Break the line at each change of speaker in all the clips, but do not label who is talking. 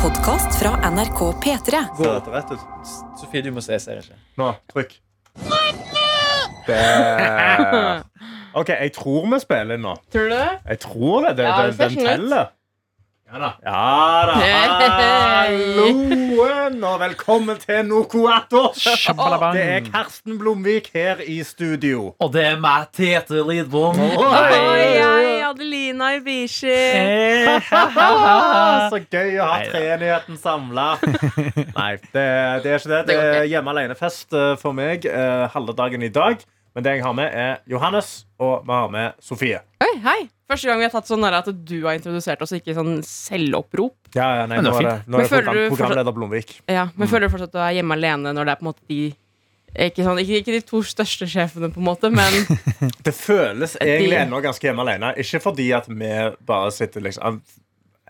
podkast fra NRK P3.
Gå etter rett ut.
Sofie, du må se. Jeg ser ikke.
Nå, trykk.
Der. OK, jeg tror vi spiller inn nå.
Tror du det?
Jeg tror det. det,
Ja, det
det
ser
den
sånn ut.
teller. Ja da. Halloen, og velkommen til Nokoatos.
Sjabalabang.
Det er Karsten Blomvik her i studio.
Og det er meg, Tete Lidbom.
Og jeg, Adelina Ibishi.
Ah, Så gøy å ha
Neida.
treenigheten samla. Nei, det, det er ikke det. Det
Det går
er
ikke.
hjemme alene-fest eh, for meg eh, halve dagen i dag. Men det jeg har med, er Johannes, og vi har med Sofie.
Oi, hei. Første gang vi har tatt sånn her at du har introdusert oss, og ikke sånn selvopprop.
Ja, ja, nei,
Men det
nå
var
er det, nå er
fint.
Men
det
føler
program,
du fortsatt-
programleder Blomvik.
Ja, Men føler du fortsatt at du er hjemme alene når det er på en måte de ikke, sånn, ikke, ikke de to største sjefene, på en måte, men
Det føles egentlig
De-
ennå ganske hjemme alene. Ikke fordi at vi bare sitter liksom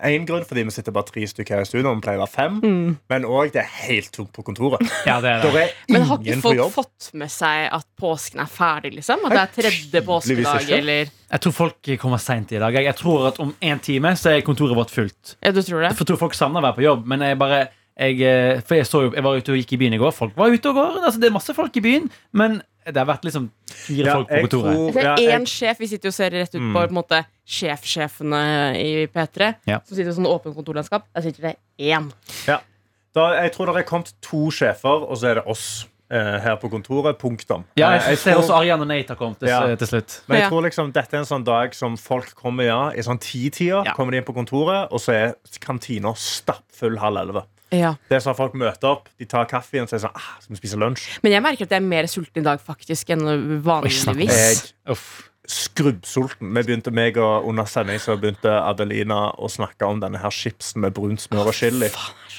Én grunn fordi vi sitter bare tre stykker her i studio, vi pleier å være fem.
Mm.
Men òg det er helt tomt på kontoret.
Ja, det er
Der
det.
er
Men har ikke
ingen på
folk
jobb.
fått med seg at påsken er ferdig, liksom? At det er tredje
tydeligvis
påskedag,
ikke.
eller
Jeg tror folk kommer seint i dag. Jeg- Jeg tror at om en time så er kontoret vårt fullt.
Ja, du tror det?
For jeg tror folk savner å være på jobb, men jeg bare jeg, eh, For jeg, så jo, jeg var ute og gikk i byen i går. Folk var ute og går. Altså, det er masse folk i byen, men det har vært liksom fire
Ja,
folk på kontoret.
Det
ja,
er
jeg- Mm.
én sjef. Vi sitter jo og ser rett ut på, på en måte, sjefsjefene i P3.
Ja.
Som sitter i sånn åpent kontorlandskap. Der sitter det én.
Da, jeg tror det er kommet to sjefer, og så er det oss eh, her på kontoret. Punktum.
Ja,
Eh,
jeg ser
tror-
også Arian og Nate har kommet til,
Ja.
til slutt.
men jeg
Ja.
tror liksom dette er en sånn dag som folk kommer ja, i sånn ti-tida.
Ja.
Kommer de inn på kontoret, og så er kantina stappfull halv elleve.
Ja.
Det er sånn Folk møter opp, de tar kaffe og så er det sånn ah, Skal vi spise lunsj?
Men jeg merker at jeg er mer sulten i dag faktisk enn vanligvis.
Jeg
Uff.
skrubbsulten. Vi begynte meg og Under sending så begynte Adelina å snakke om denne her chipsen med brunt smør og chili.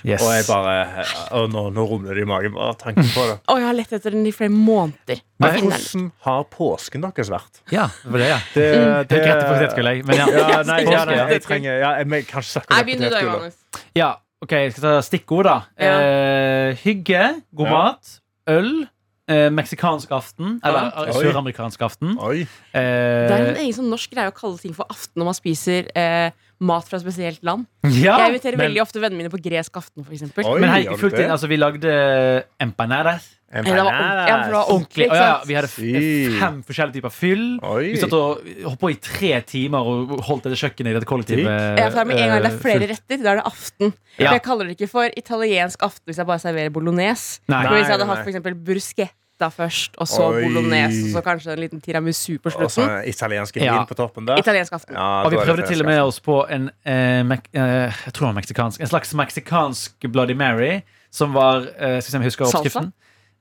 Yes.
Og jeg bare og nå, nå rumler det i magen. Bare tanken på det.
Og jeg har lett etter den i flere måneder.
Men-
Jeg finner den.
Hvordan har påsken deres vært?
Ja, det var det, ja.
Det,
Det er rett skulle jeg. Men ja.
Ja, nei, ja, nei, jeg
Påske.
trenger ja, jeg, men Kanskje snakke
Nei,
om
begynn du da,
potetgullet.
Johannes.
Ja, ok, jeg skal ta stikkord da
Ja.
eh, Hygge, god
Ja.
mat Øl, eh, meksikansk aften Eller
Ja.
eh,
Oi.
søramerikansk aften
Oi.
Det er en
eh,
egen sånn norsk greie å kalle ting for aften når man spiser eh, mat fra et spesielt land.
ja,
Jeg inviterer
men,
veldig ofte vennene mine på gresk aften, for eksempel.
Oi,
Men her
gjør
gikk
du
vi fullt
det?
inn Altså vi lagde eh, empanadas
En
Nei, det var ordentlig, ja, for det var
bananas.
ordentlig,
Å,
ikke
ja, ja,
sant?
Vi hadde f- eh,
Fy.
fem forskjellige typer fyll
Oi.
Vi satt og holdt på i tre timer Og holdt dette kjøkkenet i dette kollektivet
Jeg er klar med en gang
eh,
det er flere
fullt.
retter, da er det aften.
Ja.
For jeg kaller det ikke for italiensk aften hvis jeg bare serverer bolognese.
Nei.
Men hvis jeg
Nei,
hadde hatt
nei.
for eksempel bruschetta først, og så
Oi.
bolognese, og så kanskje en liten tiramisu på
Og så en
slutten.
italiensk Altså, vin
Ja.
på toppen der.
Italiensk aften.
Ja,
Og vi
da er det
prøvde til og med
italiensk.
oss på en eh, mek eh, Jeg tror det var meksikansk En slags meksikansk Bloody Mary Som var, eh, skal vi se om jeg husker
Salsa?
oppskriften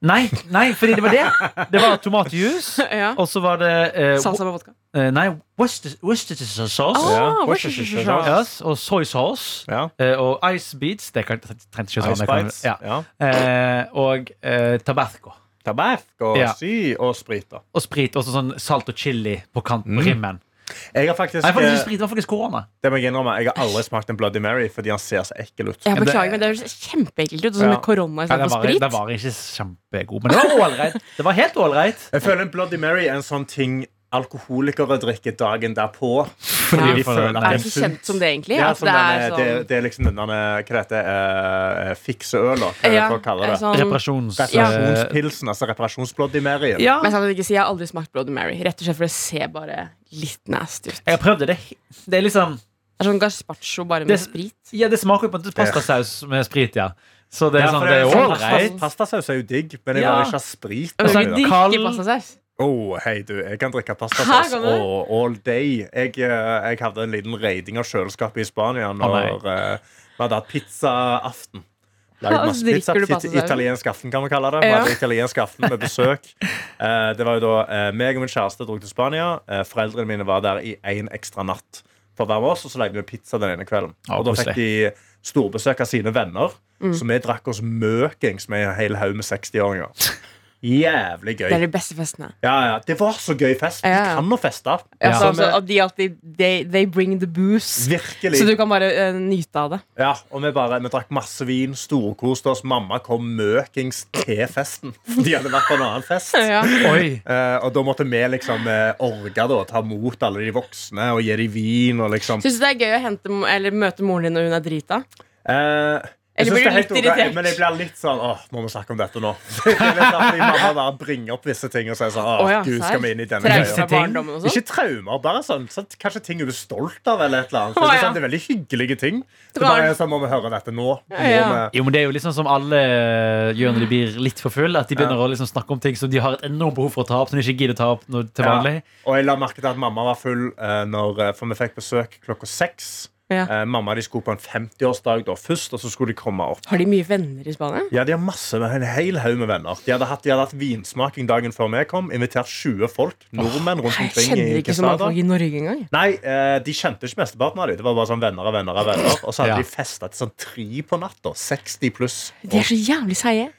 Nei, nei, fordi det var det Det var tomatjuice
Ja.
Og så var det eh,
Salsa med vodka.
wo- eh, Nei, Worcester- Worcestershire sauce
Ja.
Ah,
Worcestershire
Worcestershire.
yes, Og soy sauce
Ja.
eh, Og ice beads Det kan, jeg trengte ikke å
Ice
sånn jeg kan-
bites.
ja.
Ja.
eh, Og eh, tabasco
Tabasco og
Ja.
sy og sprit. da.
Og sprit, også sånn salt og chili På kant
Mm.
på rimmen
Jeg har faktisk,
Nei, faktisk
eh,
ikke sprit, det var faktisk korona
det må jeg innrømme, jeg har aldri smakt en Bloody Mary fordi han ser så ekkel ut.
Jeg beklager, men det høres kjempeekkelt ut. og Sånn
Ja.
med korona
Ja,
istedenfor
den var,
sprit.
den var ikke kjempegod, men det var ålreit. Det var helt ålreit.
Jeg føler en Bloody Mary er en sånn ting alkoholikere drikker dagen derpå.
Ja.
de føler at det
Er det
er
ikke
sunt.
kjent som det, egentlig?
Det er,
At
sånn denne,
sånn-
det, det er liksom denne Hva det heter eh, Fikseøla, hva er det
Ja,
folk kaller det.
sånn-
Reparasjons... eh,
Reparasjonspilsen, altså reparasjons-Bloody Mary.
ja.
Men jeg skal ikke si jeg har aldri smakt Bloody Mary. Rett og slett for det ser bare litt nasty ut.
Jeg har prøvd det. Det, det er liksom
Det er sånn gazpacho bare med
Det-
sprit.
Ja, det smaker jo på en måte pastasaus med sprit, ja. Så det
Ja,
er
for
sånn, det er
jo sånn
ålreit.
pasta- Pastasaus er jo digg, men jeg
Ja.
vil ikke ha sprit.
Jeg vil
Altså,
ikke
Å,
kald-
drikke pastasaus.
hei, du, jeg kan drikke
Hæ,
pastasaus
kan du?
all, all day. Jeg, eh, jeg hadde en liten raiding av kjøleskapet i Spania når eh, vi hadde hatt pizzaaften. Lagd
Ja,
masse
drikker
pizza.
du
It-
pastasaus?
Italiensk aften, kan vi kalle det. Vi
Ja.
hadde italiensk aften med besøk. Eh, det var jo da eh, meg og min kjæreste dro til Spania. Eh, foreldrene mine var der i én ekstra natt for hver av oss, og så lagde vi pizza den ene kvelden.
Ja,
og da
koselig.
fikk de storbesøk av sine venner,
Mm.
så vi drakk oss møkings med en hel haug med 60-åringer. Jævlig gøy.
Det er de beste festene.
Ja, ja. Det var så gøy fest.
Ja,
Vi
ja.
kan jo feste.
Ja.
Ja.
Altså, altså, at de alltid they, they bring the booze. Så du
Virkelig.
kan bare eh, nyte av det.
Ja, og vi, bare, vi drakk masse vin, storkoste oss. Mamma kom møkings til festen. De hadde vært på en annen fest.
Ja.
Oi.
Eh, og da måtte vi liksom eh, orge da, ta mot alle de voksne og gi dem vin. Og liksom.
Syns du det er gøy å hente, mo- eller møte moren din når hun er drita?
Eh, jeg
Eller
synes
blir
det er
du
helt
litt
ok,
irritert?
Men jeg blir litt sånn Åh, må vi snakke om dette nå? Det er litt sånn at Min mamma bare bringer opp visse ting og sier sånn Åh,
Å ja,
gud,
serr.
skal vi inn i denne
Traumer
greia?
fra barndommen og sånn.
Ikke traumer, bare sånn, sånn Kanskje ting du er stolt av, eller et eller annet. Så
Å,
det, er
ja.
sånn, det er veldig hyggelige ting. Det
var-
er bare sånn, Må vi høre dette nå?
Ja, ja.
Må vi-
Jo, men Det er jo litt sånn som alle gjør når de blir litt for full At de begynner å liksom snakke om ting som de har et enormt behov for å ta opp, som de ikke gidder å ta opp når, til vanlig.
Og jeg la merke til at mamma var full, eh, når, eh, for vi fikk besøk klokka seks.
Ja.
Eh, mamma de skulle på en 50-årsdag da først, og så skulle de komme opp.
Har de mye venner i Spania?
Ja, de har masse med en hel haug med venner. De hadde hatt, de hadde hatt vinsmaking dagen før vi kom. Invitert 20 folk. Nordmenn rundt
Jeg
omkring.
kjenner
i
ikke så mange
Quesada.
folk i Norge engang.
Nei, eh, de kjente ikke mesteparten av dem. Det var bare sånn venner av venner av venner. Og så hadde
Ja.
de festa til sånn tre på natta. 60 pluss.
De er så jævlig seige.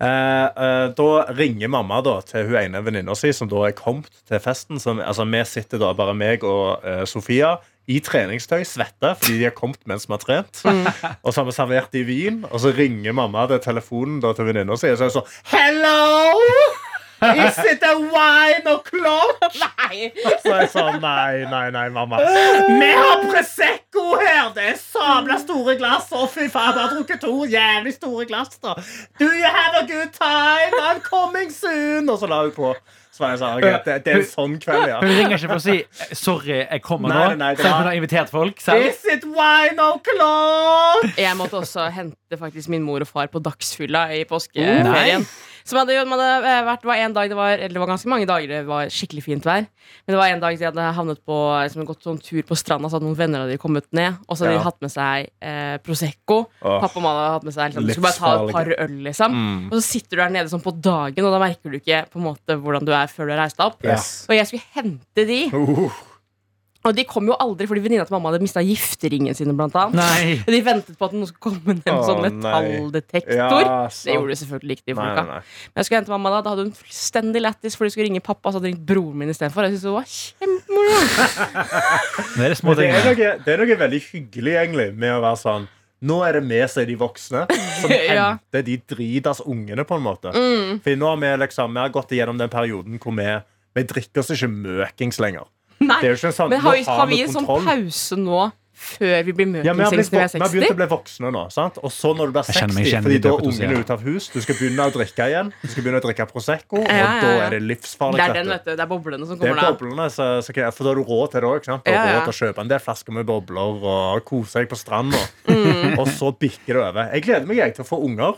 Eh, eh, da ringer mamma da til hun ene venninna si, som da er kommet til festen. Som, altså, vi sitter da, bare meg og eh, Sofia, i treningstøy, svette, fordi de har kommet mens vi har trent. Og så har vi servert de vin, og så ringer mamma til telefonen da, til venninna si, og så er det sånn Hello! Is it a wine o'clock? Så er jeg sånn Nei, nei, nei, mamma. Vi har Prosecco her! Det er sabla store glass. Å, fy faen, jeg har drukket to jævlig store glass, da. Do you have a good time? I'm coming soon! Og så la hun på. Så var jeg sånn, ok, det, det er en sånn kveld, ja.
Hun ringer ikke for å si 'sorry, jeg kommer
Nei,
nå',
nei, nei, det
selv om
var-
hun har invitert folk selv.
Is it wine o'clock?
Jeg måtte også hente faktisk min mor og far på dagsfylla i
Oh,
påskeferien.
nei.
Som hadde, man hadde eh, vært, det var en dag det var, eller det var ganske mange dager det var skikkelig fint vær. Men det var en dag de hadde havnet på, liksom, gått sånn tur på stranda, så hadde noen venner av de kommet ned. Og så hadde
Ja.
de hatt med seg eh, Prosecco.
Åh. Mm.
Pappa og mamma hadde hatt med seg liksom, Du skulle bare ta et par øl, liksom. Og så sitter du der nede sånn på dagen, og da merker du ikke på en måte hvordan du er før du har reist deg opp.
Yes.
Og jeg skulle hente de,
Uh,
og de kom jo aldri fordi venninna til mamma hadde mista gifteringen sine, blant annet.
Nei.
De ventet på at noen skulle komme med en
Å,
sånn
nei.
metalldetektor.
ja,
Det
sant.
gjorde selvfølgelig ikke de
Nei,
folka.
nei, nei.
Men jeg skulle hente mamma da, da hadde hun fullstendig lættis, for de skulle ringe pappa, så hadde de ringt broren min istedenfor. Jeg synes det var kjempemoro.
Det er det små
Men det er,
tingene.
noe, det er noe veldig hyggelig egentlig med å være sånn Nå er det med seg de voksne som
Ja. Mm.
henter de dritas ungene, på en måte. For nå har vi liksom, vi har gått igjennom den perioden hvor vi, vi drikker oss ikke møkings lenger.
Nei,
Det er jo ikke sånn,
men har vi,
nå
har vi en sånn
kontroll.
pause nå før vi blir
Ja, vi har, blitt,
møkingsengst
vi
når vi er
har begynt å
60?
bli voksne nå. sant? Og så når du blir
Jeg kjenner meg
60,
igjen i
fordi
det
da
du
er
sier.
ungene ute av hus, du skal begynne å drikke igjen, du skal begynne å drikke Prosecco, og
Ja, ja,
da
ja.
er det livsfarlig.
Det er
vet
den,
du.
vet du. Det er boblene som
Det er
kommer da.
boblene, så, så, kan- for da har du råd til det òg. Du har
Ja, ja.
råd til å kjøpe en del flasker med bobler og kose deg på stranda.
Mm.
Og så bikker det over. Jeg gleder meg jeg, til å få unger.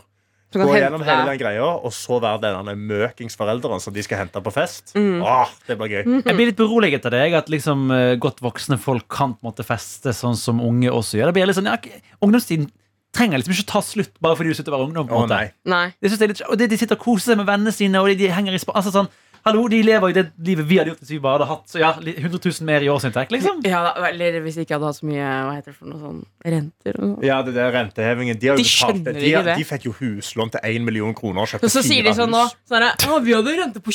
Som
Gå
kan
gjennom
hente
hele
deg.
den greia, og så være denne møkingsforelderen som de skal hente på fest.
Mm.
Åh, det blir gøy.
Jeg blir litt beroliget av deg, at liksom eh, godt voksne folk kan på en måte feste sånn som unge også gjør. Det blir litt sånn, ja, ok, Ungdomstiden trenger liksom ikke ta slutt bare fordi du slutter å være ungdom. på
Å
en måte.
nei.
Nei.
Det synes jeg er litt, og det, de sitter og koser seg med vennene sine, og de, de henger i spa... Altså sånn, hallo, de lever jo det livet vi hadde gjort hvis vi bare hadde hatt så ja, li- 100 000 mer i årsinntekt, liksom.
Ja, da, eller hvis jeg ikke hadde hatt så mye hva heter det for noe sånn, renter og sånn.
Ja, det der rentehevingen De, har jo betalt
De
det.
skjønner
de,
ikke det.
de fikk jo huslån til 1 million kroner og kjøpte
Så, så sier de
fire
sånn nå
hus.
sånn her, «Å, Vi hadde rente på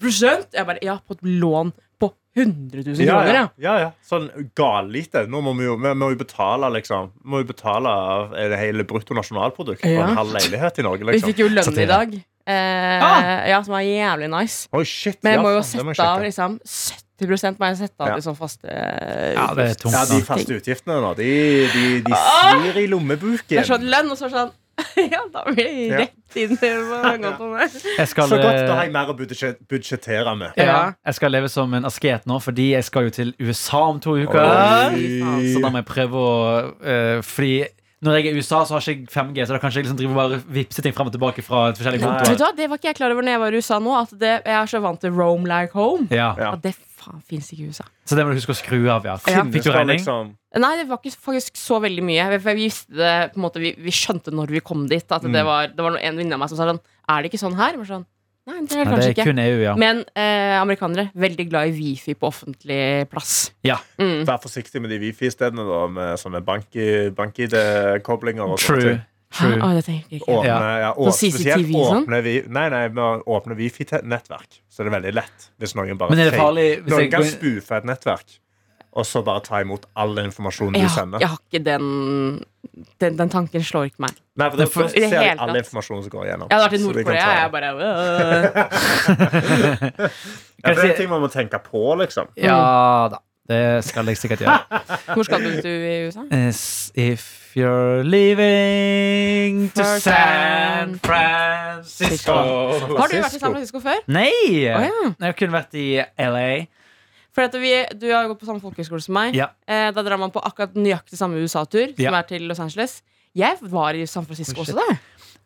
28 Jeg bare Ja, på et lån på 100 000
Ja,
kroner,
ja.
ja.
ja, ja. Sånn gallite. Nå må vi jo, vi må jo betale, liksom. Vi må jo betale er det hele bruttonasjonalproduktet på
Ja.
en halv leilighet i Norge,
Vi
liksom.
fikk jo lønn
Satire.
i dag. Eh,
Ah!
Ja, Som er jævlig nice.
Oi, shit,
Men jeg
ja,
må jo
faen, det må jeg
sette av
sjekke.
liksom 70 må jeg sette av
Ja.
til sånn faste
Ja, det er tungt.
Ja, De
da.
faste utgiftene nå, de, de, de svir i
Ah! Det er
lommebuken.
sånn lønn, og så er det sånn Ja, da blir det rett inn til å gå på meg.
Jeg skal,
Så godt, da
eh,
har jeg mer å budsje- budsjettere med.
ja,
Ja.
jeg skal leve som en asket nå, fordi jeg skal jo til USA om to uker.
Oi.
Så da må jeg prøve å eh, Fordi når jeg er i USA, så har ikke jeg 5G, så da kan jeg ikke liksom drive og bare vippse ting frem og tilbake fra et forskjellig
Nei.
Vet du
konto.
hva, Det var ikke jeg klar over når jeg var i USA nå. At det, jeg er så vant til Rome like home.
Ja.
Ja.
At det faen fins ikke i USA.
Så det må du huske å skru av, ja.
Ja.
Fikk du regning?
Liksom,
Nei, det var ikke faktisk så veldig mye. Vi, vi, visste det, på en måte, vi, vi skjønte når vi kom dit.
Mm.
At det, var, det var noen- en venninne av meg som sa sånn Er det ikke sånn her? Jeg var sånn, Nei, det
Nei,
er det kanskje
det er
ikke.
kun EU, ja.
Men eh, amerikanere veldig glad i wifi på offentlig plass. Mm.
ja.
vær forsiktig med de wifi-stedene, da, med sånne bank- bank-ID-koblinger og sånne
True.
ting.
Hæ?
True.
Å, det tenker jeg ikke.
Åpne, ja.
Ja.
og
Sånn
spesielt
CCTV, sånn?
åpne, vi, nei, nei, med å åpne wifi-nettverk. Så det er veldig lett. Hvis noen bare
Men er det
fake-
farlig hvis
Noen
jeg
kan
går-
spoofe et nettverk, og så bare ta imot all informasjonen
Jeg
du
har,
sender.
jeg har ikke den, den Den tanken slår ikke meg.
Nei, for da
Det for-
ser
i det
jeg
hele
all
tatt.
informasjonen som går igjennom.
Jeg hadde vært i
Så de kan
Nord-Korea.
ta-
Jeg bare øh.
Ja, for det
Kanskje-
er ting man må tenke på, liksom.
Ja da. Det skal jeg sikkert gjøre.
Hvor skal du ut i USA?
As if you're leaving to
For
San
San
Francisco
Har du vært i San Francisco før?
Nei!
Å ja.
Jeg har kun vært i LA.
For at vi, du har jo gått på samme folkehøyskole som meg.
Ja.
Eh, da drar man på akkurat nøyaktig samme USA-tur, som
Ja.
er til Los Angeles. Jeg var i San Francisco
Oh, shit.
også, da.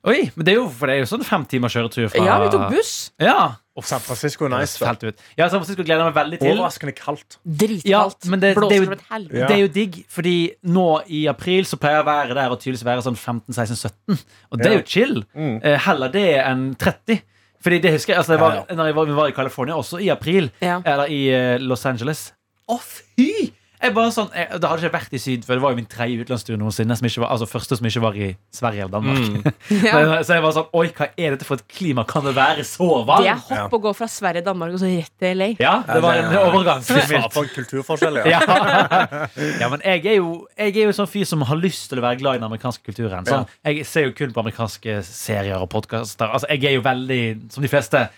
Oi, men det er jo, for det er jo sånn fem timer kjøretur fra
Ja, vi tok buss.
Ja. Og
San Francisco er nice. vel?
Helt ut. Ja, San Francisco gleder jeg meg veldig til.
Overraskende kaldt.
Dritkaldt.
Ja, men det- det er
Blåser
jo-
som et helvete.
Ja.
Det er jo digg, fordi nå i april så pleier været der å tydeligvis være sånn 15-16-17. Og det er jo chill.
Mm.
Eh, Heller det enn 30. Fordi det husker jeg, altså det var,
Ja,
når jeg var, vi var i California, også i april,
Ja.
eller i eh, Los Angeles. Å, fy! Jeg bare sånn, jeg, det hadde ikke jeg vært i Syd før. Det var jo min tredje utenlandstur noensinne. Som ikke var, altså første som ikke var i Sverige eller
Mm.
Danmark.
Ja.
Så jeg var sånn Oi, hva er dette for et klima? Kan det være så
Det er
varmt?
hopp å gå fra Sverige, Danmark og så rett til LA.
Ja, det var en overgang.
Fy faen, for en kulturforskjell, ja.
ja. ja, men jeg er, jo, jeg er jo sånn fyr som har lyst til å være glad i den amerikanske kulturen. Sånn, Jeg ser jo kun på amerikanske serier og podkaster. Altså, jeg er jo veldig, som de fleste,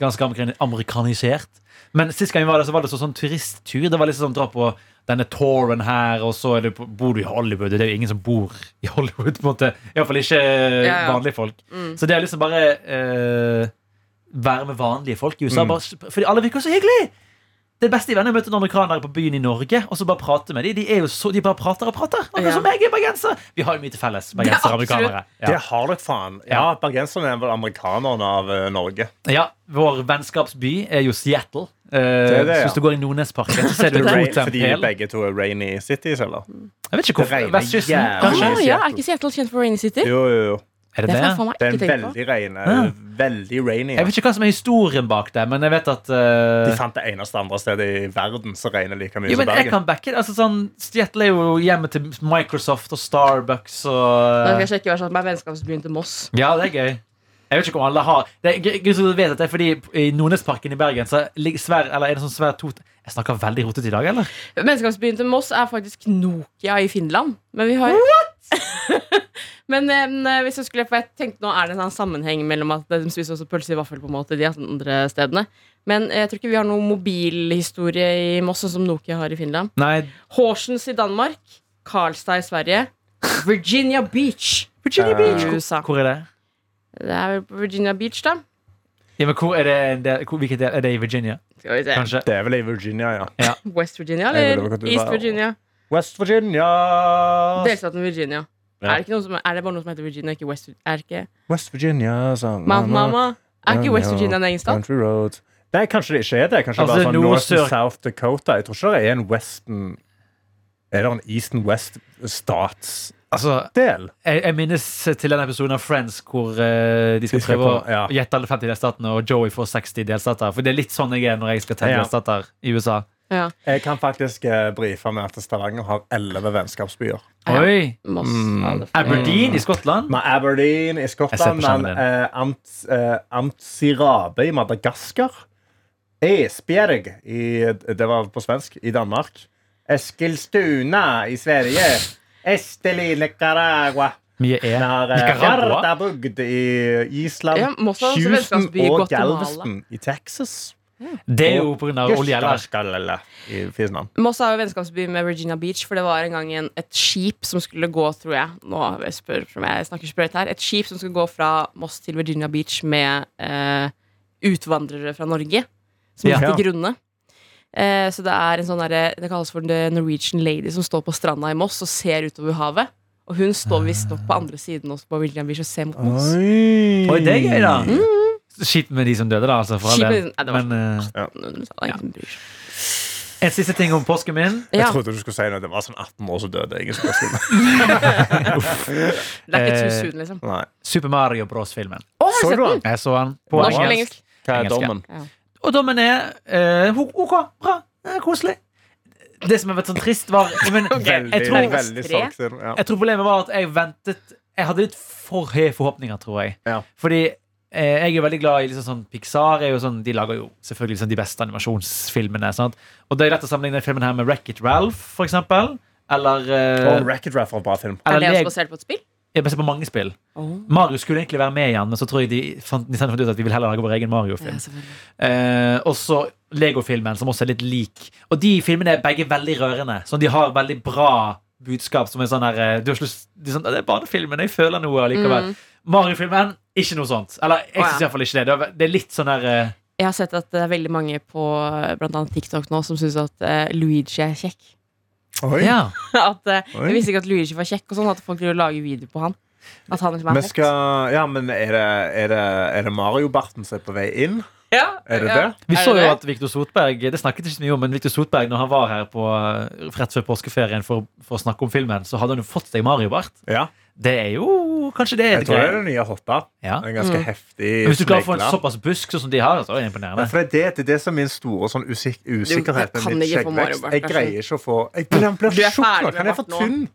ganske amerikan- amerikanisert. Men sist gang vi var der, så var det sånn, sånn turisttur. Det var liksom sånn, dra på denne touren her, og så er det, på- bor du i Hollywood. Det er jo ingen som bor i Hollywood, på en måte. Iallfall ikke
Ja, Mm. ja.
vanlige folk. Så det er liksom bare eh, være med vanlige folk i USA.
Mm.
Bare, fordi alle virker så hyggelige! Det beste i verden er å møte noen amerikanere på byen i Norge og så bare prate med dem. De, er jo så, de bare prater og prater. Akkurat
Ja.
som jeg er bergenser. Vi har jo mye til felles, bergensere og
Ja, absolutt.
amerikanere.
Det
Ja.
har dere faen. Ja, Bergenserne er vel amerikanerne av eh, Norge.
ja, Vår vennskapsby er jo Seattle. Eh,
er det, ja.
så hvis du går i Nordnesparken, så ser du
Rain-
Rotem
Fordi
Pæl.
begge to er rainy cities, eller?
Jeg vet ikke
Det
hvorfor.
regner
Vestkysten,
jævlig.
kanskje?
Ah, ja, er ikke Seattle kjent for Rainy City?
Jo, jo, jo.
Er
Det
det
har jeg
det?
faen meg
Det er
ikke
en
tenkt på.
veldig reine,
Ja.
veldig rainy.
Jeg vet ikke hva som er historien bak det, men jeg vet at eh,
De fant det eneste andre stedet i verden som regner like mye
Jo, men
som
jeg
Bergen.
kan backe det. Altså, sånn, Seattle er jo hjemmet til Microsoft og Starbucks
Da skal
og eh,
jeg sjekke hva som er vennskapsbyen til Moss.
Ja, det er gøy. Jeg vet ikke om alle har det er, gøy- gøy som du vet at det er fordi I Nordnesparken i Bergen så ligger svær, eller er det sånn svær tot Jeg snakker veldig rotete i dag, eller?
Vennskapsbyen til Moss er faktisk Nokia i Finland. Men vi har Men eh, hvis jeg skulle For jeg tenkte nå er det en sånn sammenheng mellom at de spiser også pølse i vaffel på en måte de andre stedene. Men eh, jeg tror ikke vi har noen mobilhistorie i Moss, sånn som Nokia har i Finland.
Nei.
Horsens i Danmark, Karlstad i Sverige, Virginia Beach
Virginia
i
Beach. Hvor-
USA.
Hvor er det?
Det er vel på Virginia Beach, da.
Ja, men hvor er det, en del, hvor, hvilken del? Er det i Virginia?
Skal vi se.
Kanskje?
Det er vel i Virginia, ja.
West Virginia,
Jeg lurer på
eller
hva du
East
sa.
Virginia?
West Virginia!
Delstaten Virginia.
Ja.
Er, det ikke noen som, er det bare noe som heter Virginia, ikke West Virginia? Er det ikke
West Virginia, sånn.
Mount Mama? Er ikke West
Ja, ja.
Virginia en egen stat?
Country Road. Nei, kanskje det ikke er det. Kanskje det
Altså,
bare sånn
nord-
North
sør-
and South Dakota. Jeg tror ikke det er en Western Er det en East and West statsdel?
Altså, jeg, jeg minnes til den episoden av Friends hvor eh, de skal
De skal
prøve å
prøve, ja.
gjette alle 50 delstatene, og Joey får 60 delstater. For det er litt sånn jeg er når jeg skal telle
Ja.
delstater i USA.
Ja.
Jeg kan faktisk eh, brife med at Stavanger har elleve vennskapsbyer.
Ja.
Oi!
Moss.
Mm.
Aberdeen i Skottland.
Med Aberdeen i
Jeg ser på
Skottland,
skjermen
men eh, Ant, eh, Antsirabe i Madagaskar. Esbjerg i Det var på svensk. I Danmark. Eskilstuna i Sverige. Esteli Nicaragua.
Mye E.
Den har eh,
Nicaragua.
Hardabrugd i Island.
Ja, Moss har også
Houston
vennskapsby i
og
Guatemala.
Galveston i Texas.
Det er jo pga. olje, eller?
Jyskarskalala i Finland.
Moss er jo vennskapsby med Virginia Beach, for det var en gang en, et skip som skulle gå, tror jeg Nå jeg spør om jeg snakker sprøyt her. Et skip som skulle gå fra Moss til Virginia Beach med eh, utvandrere fra Norge, som
Ja.
gikk til grunne. Eh, så det er en sånn derre- Det kalles for The Norwegian Lady, som står på stranda i Moss og ser utover havet. Og hun står visstnok på andre siden også på Virginia Beach og ser mot Moss.
Oi, det er gøy, da.
Mm.
Mm, Kjipt med de som døde, da. Altså, for all
Kjipt med
del.
de- Nei, det var-
Men eh,
Ja.
en siste ting om påsken min.
Ja,
Jeg trodde du skulle si noe. Det var sånn 18 år som døde. Jeg, som skulle si det.
det er ikke too
eh,
soon, liksom.
Nei.
Super Mario Bros-filmen.
Å, har du
Så
sett
du
den?
den?
Jeg så den på
Norsk eller
engelsk.
engelsk?
Hva er
Engelsk, ja.
dommen?
Og dommen er eh, ho- OK, bra, eh, koselig. Det som har vært sånn trist, var men, jeg,
Veldig,
tror,
veldig sorgsen. Ja.
jeg tror problemet var at jeg ventet Jeg hadde litt for høye forhåpninger, tror jeg.
Ja.
Fordi eh, jeg er veldig glad i liksom sånn Pixar. Er jo sånn, de lager jo selvfølgelig sånn de beste animasjonsfilmene. Sant? Og det er lett å sammenligne denne filmen her med Wreck-It Ralph, for eksempel. Eller, eh,
Og Racket Raff var en bra film.
Er det
eller
også
Leg-
basert på et spill?
Jeg har sett på mange spill. Mario skulle egentlig være med igjen, men så tror jeg de fant, Nintendo fant ut at vi vil heller lage vår egen Mario-film.
selvfølgelig.
Eh, og så Lego-filmen, som også er litt lik. Og de filmene er begge veldig rørende. Sånn, de har veldig bra budskap som er sånn her eh, du har ikke lyst, de er sånn, Det er barnefilmen, jeg føler noe allikevel. Mario-filmen, ikke noe sånt. Eller jeg
Mm. Å, ja.
syns iallfall ikke det. Det er- Det er litt sånn der eh,
Jeg har sett at det er veldig mange på blant annet TikTok nå som syns at eh, Luigi er kjekk.
Oi.
Ja.
At, eh,
Oi.
jeg visste ikke at Luigi var kjekk, og sånn at folk driver og lager video på han. At han liksom er
Men,
fett.
skal, ja, men er det, er det, er det Mario-barten som er på vei inn?
Ja,
Er det
ja.
det?
Vi
Er
så
det
jo
det?
at Viktor Sotberg Det snakket ikke så mye om, men Victor Sotberg, når han var her på eh, rett før påskeferien for, for å snakke om filmen, så hadde han jo fått seg Mario-bart.
Ja.
Det er jo kanskje det Mm. er
Jeg
et
tror det er
greie.
det nye hotta.
Ja.
En ganske heftig
Men Hvis du klarer å få en
smegle.
såpass busk sånn som de har, så er det
Ja,
imponerende.
for det, er det, det er det som er min store sånn usik usikkerhet
Du
med
kan
min
ikke få
skjeggvekst.
Mario-bart,
Jeg
Karsten.
greier ikke å få jeg, Han blir
Du er
tjukk
ferdig
nå.
med
Han er for
barten
tynn.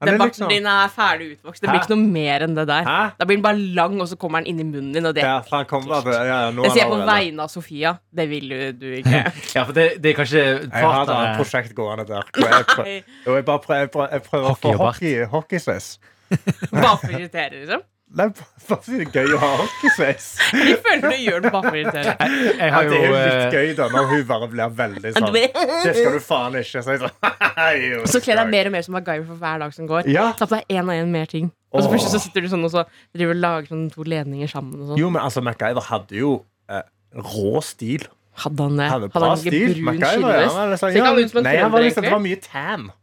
Han er
Den barten
liksom-
din er ferdig utvokst. Det blir
Hæ?
ikke noe mer enn det der.
Hæ?
Da blir den bare lang, og så kommer den inn i munnen din. Og det.
Ja, for han kommer bare ja, ja, nå er
Jeg sier
han
på
allerede.
vegne av Sofia. Det vil jo du ikke.
Ja, for det, det er kanskje
Jeg har et annet
partene
prosjekt gående der. hvor Jeg prøver,
Nei.
jo, jeg bare prøver, jeg prøver, jeg prøver å få
Hockey og bart.
hockey- hockeysveis.
Bare for å irritere, liksom.
Nei, bare fordi det er gøy å ha hockeysveis.
Jeg føler du gjør det bare for å irritere.
Jeg
Ja,
har
det er
jo
jo litt
eh,
gøy da når hun bare blir veldig
Men
sånn
du er-
Det skal du faen ikke. Så jeg sånn
Så kler deg mer og mer som MacGyver for hver dag som går.
Ja.
Ta på deg én og én mer ting. Og så
Åh.
plutselig så sitter du sånn og så driver og lager sånn to ledninger sammen. Og sånn.
Jo, men altså, MacGyver hadde jo eh, rå stil.
Hadde han det?
Han hadde
Hadde
bra
han ikke
stil.
brun
MacGyver, ja, han var liksom,
skinnvest? Ser ikke
ja,
han ut som en
nei, han var
trønder,
liksom, det var
egentlig?
mye tan.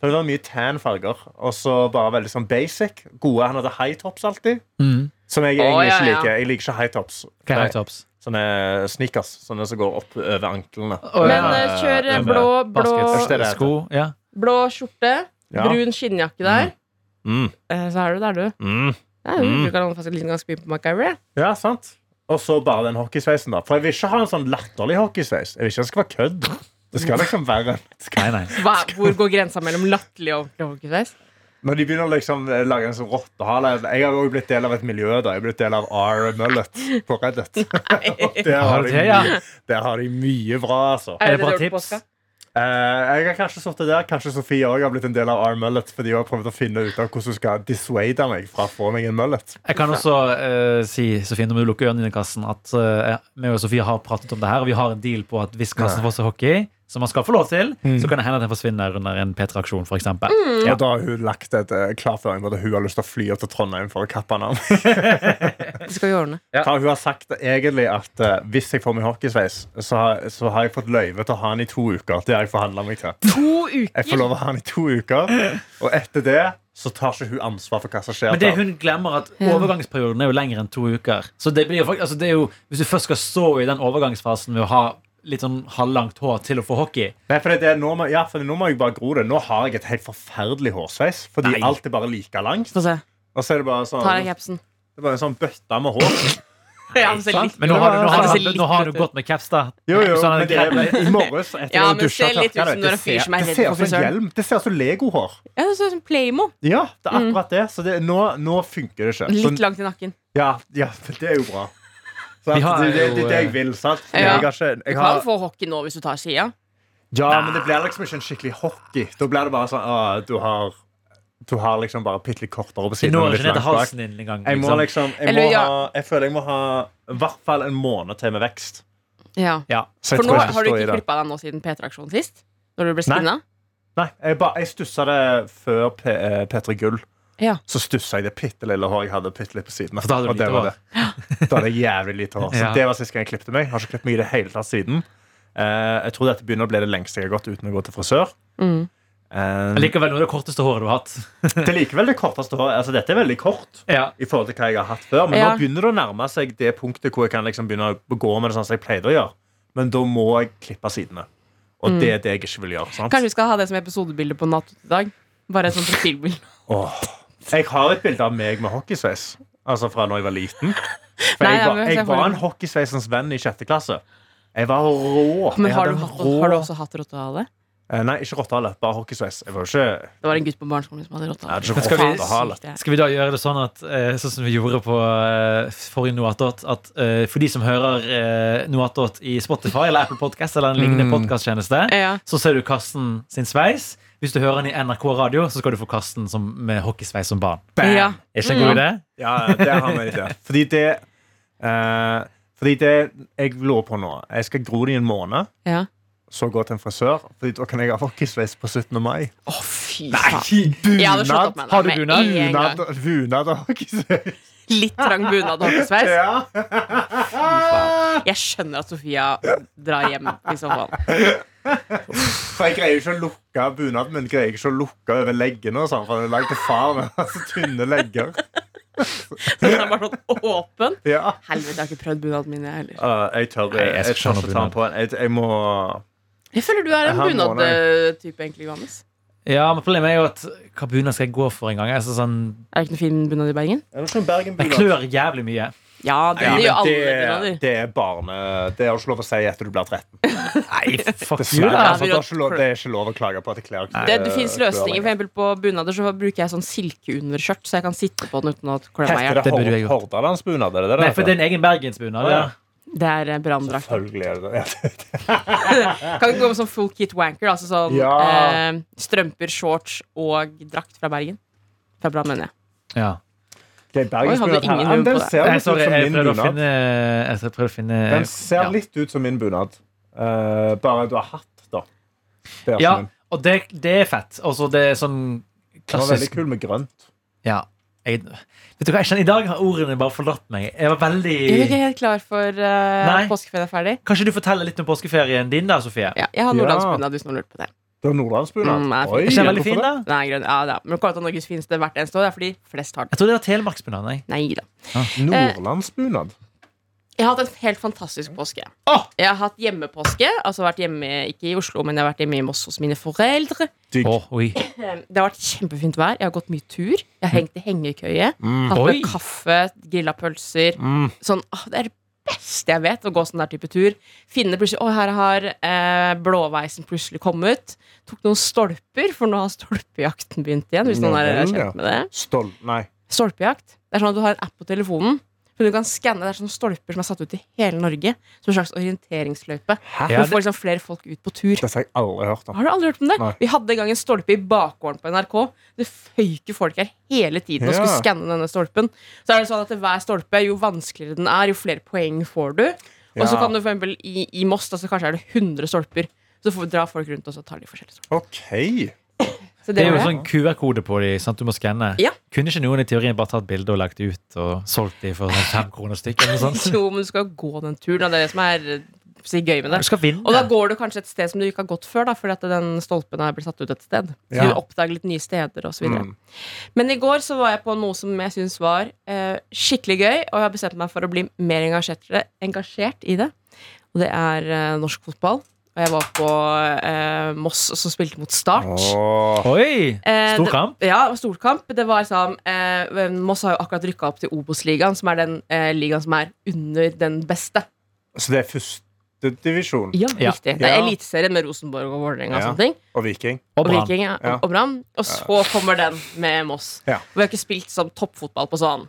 For Det var mye tan farger. Og så bare veldig sånn basic. Gode. Han hadde high tops alltid.
mm,
Som jeg
Å,
egentlig
ja,
ikke
ja.
liker. Jeg liker ikke high tops.
hva er high tops?
Sånne eh, sneakers. Sånne som går opp over anklene.
ja.
Men eh, kjør eh,
Over-
blå, blå,
Basket.
Basket, sko ja.
blå skjorte,
Ja.
brun skinnjakke der.
Mm,
Eh, Så er du der, du.
mm.
Ja, du
Mm.
bruker han faktisk litt ganske mye på MacGyver. jeg.
ja, sant. Og så bare den hockeysveisen, da. For jeg vil ikke ha en sånn latterlig hockeysveis. Jeg vil ikke at det skal være kødd. Det skal liksom være det skal-
Nei, nei.
Hva, hvor går grensa mellom latterlig og ordentlig hockeysveis?
Når de begynner å liksom eh, lage en sånn rottehale Jeg har jo blitt del av et miljø da Jeg har blitt del av R. Mullet på Reddit Og der
Har
har,
du
de
det, ja?
mye, der har de mye bra altså.
Er det
du
bare
gjorde på
tips?
påska?
Eh, Jeg har kanskje sittet der Kanskje Sofie også har blitt en del av R. Mullet Fordi hun har prøvd å finne ut av hvordan hun skal dissuade meg Fra å få meg en mullet
Jeg kan også eh, si Sofie, når du lukker ørene dine i kassen, at eh, meg og Sofie har pratet om det her, og vi har en deal på at hvis kassen får seg hockey, som man skal få lov til,
Mm.
så kan det hende at den forsvinner under en P3-aksjon, f.eks.
Mm.
Og da har hun lagt et eh, klarføring på at Hun har lyst til å fly opp til Trondheim for å kappe den av
Det skal vi ordne.
Ja.
For Hun har sagt egentlig at eh, Hvis jeg får min hockeysveis så, har- så har jeg fått løyve til å ha den i to uker Det har jeg forhandlet meg til
To
Jeg får
uker!
lov å ha han i to uker, og etter det så tar ikke hun ansvar for hva som skjer.
Men det
der.
hun glemmer at
Ja.
overgangsperioden er jo lengre enn to uker. Så det blir jo fakt- altså det er jo, Hvis du først skal stå i den overgangsfasen med å ha litt sånn halvlangt hår til å få hockey
Nei, for det, er det, nå, må, ja, for nå må jeg bare gro det. Nå har jeg et helt forferdelig hårsveis, fordi
Nei.
alt er bare like langt.
Få se.
Og så er det bare sånn,
Ta deg
det
capsen.
er bare en sånn bøtte med hår.
Ja, men se
sant?
litt-
Men nå har du, nå har
Ja,
du,
men se
hatt-
litt
nå har
ut,
du gått med caps, da.
Jo, jo,
Sånn
men
at
det er,
det-
men i morges etter
Ja,
å ha
men
dusja
ser litt ut
tørka
som
det,
når
det
en fyr
ser-
som er
det
redd
ser
for
ut som en
frisøren.
hjelm. Det ser ut som legohår.
Ja, det ser ut som Playmo.
Ja, det er akkurat det. Så det, nå, nå funker det ikke.
Mm. Litt
Så,
langt i nakken.
ja, ja, for det er jo bra. Så
Vi har
det, det, det
jo,
er det jeg vil, sant?
Ja.
Jeg har ikke,
Du
jeg
kan
har,
få hockey nå hvis du tar sida.
Ja, men det blir liksom ikke en skikkelig hockey. Da blir det bare sånn ah, du, har, du har liksom bare bitte litt kortere på
Det
siden. og
når
litt
ikke ned til
langt bak.
halsen din engang.
Jeg må
Liksom.
liksom jeg, må
Eller, ja.
ha, jeg føler jeg må ha i hvert fall en måned til med vekst.
Ja.
Ja.
Så jeg
For nå
tror jeg
har du
står i
ikke
det.
klippa deg nå siden P3-aksjonen sist? Når du ble
Nei.
skinna?
Nei, jeg, ba, jeg stussa det før P- eh, P3 Gull.
Ja.
Så stussa jeg det bitte lille håret jeg hadde bitte litt på siden. av.
For da hadde du
Og det
lite
var
hår.
det. Da hadde jeg jævlig lite hår. Så
Ja.
det var sist gang jeg klippte meg. Jeg har ikke klippet meg i det hele tatt siden. Eh, jeg tror dette begynner å bli det lengste jeg har gått uten å gå til frisør.
Mm.
Eh,
Men likevel noe av det korteste håret du har hatt.
det er likevel det korteste håret. Altså, dette er veldig kort.
Ja.
i forhold til hva jeg har hatt før. Men
Ja.
nå begynner det å nærme seg det punktet hvor jeg kan liksom begynne å gå med det sånn som jeg pleide å gjøre. Men da må jeg klippe sidene. Og det
Mm.
er det jeg ikke vil gjøre. sant?
Kanskje vi skal ha det som episodebilde på Natt i dag? Bare et sånt profilbilde.
Åh. Jeg har et bilde av meg med hockeysveis. Altså fra da jeg var liten. For
Nei,
jeg,
ja,
var,
men jeg
jeg
ser for
var
meg.
en hockeysveisens venn i sjette klasse. Jeg var rå.
Men
Jeg
har
hadde
du,
en
hatt,
rå-
har du også hatt rottehale?
Eh, Nei, ikke rottehale. Bare hockeysveis. Jeg var jo ikke,
Det var en gutt på barneskolen som hadde
jeg
rottehale.
hadde
Men
ikke
skal vi-
rottehale.
Sykt, ja.
Skal vi da gjøre det sånn at eh, Sånn som vi gjorde på eh, forrige Noatot At eh, for de som hører eh, Noatot i Spotify eller Apple Podcast Eller en lignende podcasttjeneste
Ja.
Så ser du Karsten sin sveis Hvis du hører den i NRK Radio Så skal du få Karsten som, med hockeysveis som barn
Ja.
Er ikke en god idé?
Ja, ja, det har vi en idé. Fordi det eh, Fordi det jeg lurer på nå Jeg skal gro det i en måned,
Ja.
så gå til en frisør. Fordi da kan jeg ha rockesveis på 17. mai.
Å, fy faen. Jeg hadde slått
Bunad.
opp med det
Har du
med
bunad?
en gang.
Bunad bunad og rockesveis.
Litt trang bunad og hockesveis.
Ja.
Jeg skjønner at Sofia drar hjem i så fall.
For jeg greier ikke å lukke bunaden min greier ikke å lukke over leggene. og sånn, For den er lagd til far med altså, tynne legger.
Den er bare sånn åpen.
Ja.
Helvete, jeg har ikke prøvd bunaden min, jeg heller.
Eh, jeg tør
Nei, jeg skal jeg tør ikke ikke ta ha den bunad.
på en. Jeg, må
Jeg føler du er en
Her må den-
bunadtype, egentlig, Johannes.
Ja, men Problemet er jo at hva bunad skal jeg gå for en gang? Jeg, er sånn,
Er det ikke noe fin bunad i Bergen?
Er det sånn Bergen
jeg klør jævlig mye.
Ja, det,
Nei,
gjør
men
alle
det,
bunader.
det er barne... Det har du ikke lov å si etter du blir 13.
Nei, fuck you.
Dessverre.
da.
Altså, det, er ikke lov, det er ikke lov å klage på at jeg klær
Det, det finnes løsninger. For eksempel på bunader så bruker jeg sånn silkeunderskjørt, så jeg kan sitte på den uten å klemme meg i
Heter
hjel.
Det
det
burde jeg
Hor-
gjort.
Hordalandsbunad? Er det det
Nei,
det
for
heter?
det er en egen bergensbunad.
Å,
Ja.
ja.
Det er eh, branndrakt.
Selvfølgelig er det det.
Kan gå med sånn full kit wanker, altså sånn
Ja.
eh, strømper, shorts og drakt fra Bergen. Fra Brann, mener jeg.
Ja.
Det er
Oi, hadde
Bergensbunad.
ingen
Ja, men
hue på
Den
det.
ser
Nei,
litt ut
sorry,
som
jeg
min
prøvde å
bunad.
finne Jeg prøvde å finne
Den ser
ja.
litt ut som min bunad. Eh, bare du har hatt, da. Det er
Ja,
som min.
og det, det er fett. Altså, det er sånn
Den var veldig
klassisk
kul med grønt.
ja. jeg, Vet du hva, jeg kjenner, I dag har ordene bare forlatt meg. Jeg var veldig
Er du ikke helt klar for eh,
Nei.
at påskeferien er ferdig?
Kanskje du forteller litt om påskeferien din, da, Sofie?
Ja, jeg har
Ja.
nordlandsbunad hvis noen lurte på det.
Det var Nordlandsbunad.
Mm, nei,
Oi,
Er ikke den veldig
hvorfor
fin,
det?
da?
Den er grønn. Ja, det er. Men kåret av Norges fineste hvert eneste år. Det er fordi flest har den.
Jeg trodde det var telemarksbunad. nei.
Nei da.
Eh,
Nordlandsbunad?
Jeg har hatt en helt fantastisk påske.
Åh!
Jeg har hatt hjemmepåske. Altså vært hjemme, ikke i Oslo, men jeg har vært hjemme i Moss hos mine foreldre.
Digg.
Å, oi.
Det har vært kjempefint vær. Jeg har gått mye tur. Jeg har hengt i hengekøye.
Mm.
Hatt
Oi.
med kaffe, grilla pølser.
Mm.
Sånn, åh, det er det beste jeg vet, å gå sånn der type tur. Finne plutselig Å, her har eh, blåveisen plutselig kommet. Tok noen stolper, for nå har stolpejakten begynt igjen. Hvis noen er
Ja vel, ja.
kjent med det.
Stol... Nei.
Stolpejakt. Det er sånn at Du har en app på telefonen. Men du kan skanne, Det er sånne stolper som er satt ut i hele Norge. Som en slags orienteringsløype.
Hæ?
Ja,
For å få liksom flere folk ut på tur.
Dette har jeg aldri hørt om.
Har du aldri hørt om det?
Nei.
Vi hadde en gang en stolpe i bakgården på NRK. Det føyker folk her hele tiden og
Ja.
skulle skanne denne stolpen. Så er det sånn at hver stolpe, jo vanskeligere den er, jo flere poeng får du. Og så
Ja.
kan du for eksempel i, i Moss, da, så kanskje er det 100 stolper. Så får, drar folk rundt og så tar de forskjellige stolper.
OK.
Så
Det er
var
jo sånn QR-kode på de, sant? du må skanne.
Ja.
Kunne ikke noen i teorien bare tatt bilde og lagt det ut og solgt de for sånn fem kroner stykk? Eller noe sånt?
Jo, men du skal gå den turen. og Det er det som er eh, så gøy med det.
Du skal vinne.
Og da går du kanskje et sted som du ikke har gått før, da, fordi at den stolpen er blitt satt ut et sted. Så
Ja.
du oppdager litt nye steder og så videre
Mm.
Men i går så var jeg på noe som jeg syns var eh, skikkelig gøy, og jeg har bestemt meg for å bli mer engasjert, engasjert i det. Og det er eh, norsk fotball. Og jeg var på eh, Moss som spilte mot Start.
Åh.
Oi!
Eh,
Stor
det-
kamp.
Ja, det var storkamp. Det var sånn, eh, Moss har jo akkurat rykka opp til Obos-ligaen, som er den eh, ligaen som er under den beste.
Så det er førstedivisjon
Ja,
Ja.
riktig. Det er
Ja.
Eliteserien med Rosenborg og Vålerenga og
Ja.
sånne ting.
og Viking?
Og
og
Brann.
Viking ja.
Ja.
og Brann. Og så kommer den med Moss.
Ja.
Vi har ikke spilt som toppfotball på sånn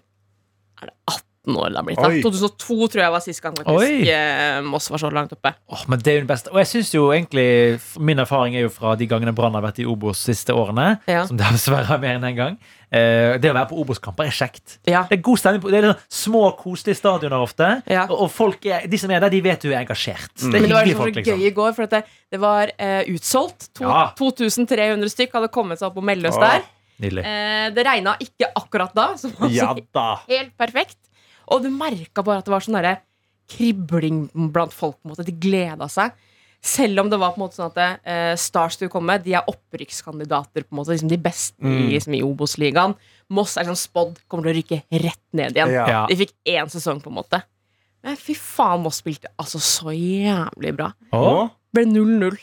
Er det 18 år det har blitt? da?
Oi.
2002 tror jeg var sist gang
Oi.
faktisk eh, Moss var så langt oppe.
Åh, men det er jo den beste. Og jeg synes jo egentlig Min erfaring er jo fra de gangene Brann har vært i Obos siste årene.
Ja.
Som det har dessverre er mer enn én en gang. Eh, det å være på Obos-kamper er kjekt.
Ja.
Det er god stemning på Det er sånn små, koselige stadioner ofte.
Ja.
Og, og folk er, de som er der, de vet du er engasjert. Det er
Men det var
hyggelige
liksom
folk,
så
liksom.
gøy i går, for at det, det var eh, utsolgt. To,
Ja.
2300 stykk hadde kommet seg opp på Melløs
Åh.
der.
Nydelig.
Eh, det regna ikke akkurat da, som var
Ja
så
da.
helt perfekt. Og du merka bare at det var sånn derre kribling blant folk. på en måte De gleda seg. Selv om det var på en måte sånn at eh, Stars skulle komme, de er opprykkskandidater. på en måte liksom De beste i, liksom, i Obos-ligaen. Moss er sånn spådd kommer til å rykke rett ned igjen.
Ja.
Ja.
De fikk én sesong, på en måte. Men fy faen, Moss spilte altså så jævlig bra.
Åh,
Åh.
Ble 0-0.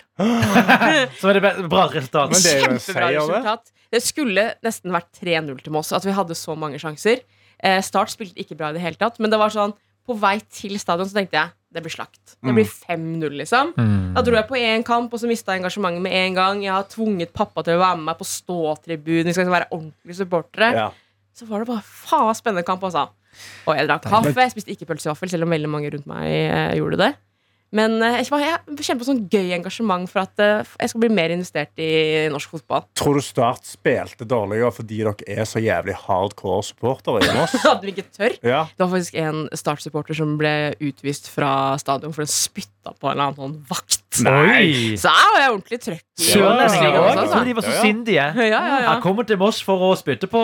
så er det be- bra resultat.
Men det er jo en
Kjempebra
seier, det.
resultat. Det skulle nesten vært 3-0 til Moss. At vi hadde så mange sjanser. Eh, Start spilte ikke bra i det hele tatt. Men det var sånn, på vei til stadion så tenkte jeg det blir slakt. Det blir
Mm.
5-0, liksom. Da dro jeg på én kamp, og så mista jeg engasjementet med en gang. Jeg har tvunget pappa til å være med meg på ståtribunen. Vi skal være ordentlige supportere.
Ja.
Så var det bare faen spennende kamp, altså. Og jeg drakk kaffe. Jeg spiste ikke pølse i vaffel, selv om veldig mange rundt meg eh, gjorde det. Men eh, jeg, jeg kjenner på sånn gøy engasjement for at eh, jeg skal bli mer investert i norsk fotball.
Tror du Start spilte dårligere fordi dere er så jævlig hardcore supportere i Moss?
Hadde vi ikke tør.
Ja.
Det var faktisk en Start-supporter som ble utvist fra stadion for den spytta på en eller annen sånn vakt.
Nei!
Så jeg var ordentlig trøkk. i
Sørlendinger
Norge
òg.
også,
Jeg
altså.
trodde de var så
Ja, ja.
sindige.
Ja, ja, ja.
Jeg kommer til Moss for å spytte på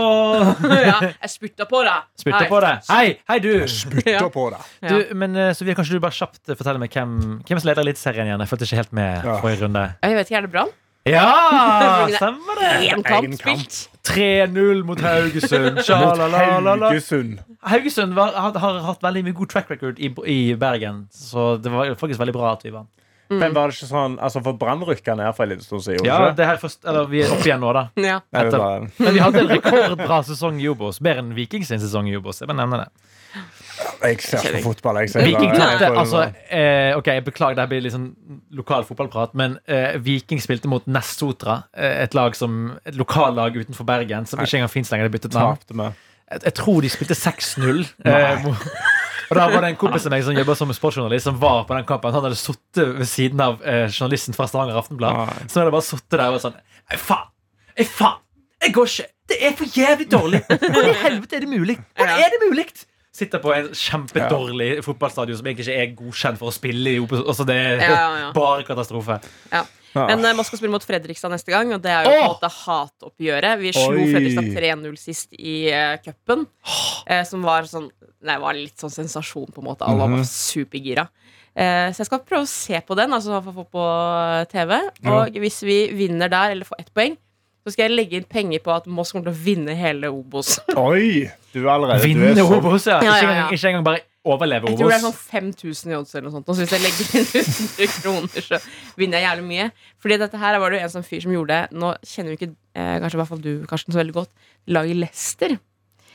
ja, jeg spytta på deg.
Spytte på deg. Hei, hei, du!
Ja.
Spytter på det.
Ja.
du men eh, Sofie, kanskje du bare kjapt eh, forteller meg hvem, hvem som leder Eliteserien igjen? Jeg fulgte ikke helt med
Ja.
forrige runde.
Jeg vet ikke, er det Brann?
Ja! Stemmer det!
Én kamp
Egen kamp.
spilt.
3-0 mot Haugesund. Tjalalalala.
Haugesund.
Haugesund var, har, har hatt veldig mye god track record i, i Bergen, så det var faktisk veldig bra at vi vant.
Men var det ikke sånn altså For Brann rykka ned for en liten stund siden. gjorde
Ja,
ikke det?
det her først, eller vi er oppe igjen nå, da.
Ja.
Nei, det
etter-
var-
Men vi hadde en rekordbra sesong i Obos. Bedre enn Viking sin sesong i Obos. Jeg bare nevner det.
Jeg ser på fotball. Jeg sånn- ser
Viking
bare-
tapte
Nei,
altså, eh, Ok, jeg beklager, det her blir litt sånn lokal fotballprat, men eh, Viking spilte mot Nessotra, eh, et lag som Et lokallag utenfor Bergen som ikke engang fins lenger. Det byttet navn.
tapte vi.
Jeg, jeg tror de spilte 6-0. Eh, mot- og da var det en kompis av meg som jobber som sportsjournalist, som var på den kampen. Han hadde sittet ved siden av eh, journalisten fra Stavanger Aftenblad.
Nei.
Så hadde jeg bare sittet der og vært sånn Ei, faen! Ei, faen! Jeg går ikke! Det er for jævlig dårlig! Hvordan i helvete er det mulig? Hvordan
Ja.
er det mulig? Sitter på en kjempedårlig fotballstadion som egentlig ikke er godkjent for å spille i. Obos- Altså, det er
Ja, ja, ja.
bare katastrofe.
Ja.
Ja.
Men eh, man skal spille mot Fredrikstad neste gang, og det er jo på en måte hatoppgjøret. Vi slo
Oi.
Fredrikstad 3-0 sist i uh, cupen, eh, som var sånn Nei, var litt sånn sensasjon, på en måte. Alle
Mhm.
var supergira. Eh, så jeg skal prøve å se på den, altså få få på eh, TV. Og hvis vi vinner der, eller får ett poeng, så skal jeg legge inn penger på at Moss kommer til å vinne hele Obos.
Oi! Du er allerede du er
Vinne
så-
Obos, ja.
Ja, ja,
Ikke
ja.
engang, ikke engang bare overleve
Jeg tror det
Obos.
er sånn 5000 i odds eller noe sånt. Og så hvis jeg legger inn 100 kroner, så vinner jeg jævlig mye. Fordi dette her var det jo en sånn fyr som gjorde det. Nå kjenner jo ikke eh, kanskje i hvert fall du, Karsten, så veldig godt. Laget Lester.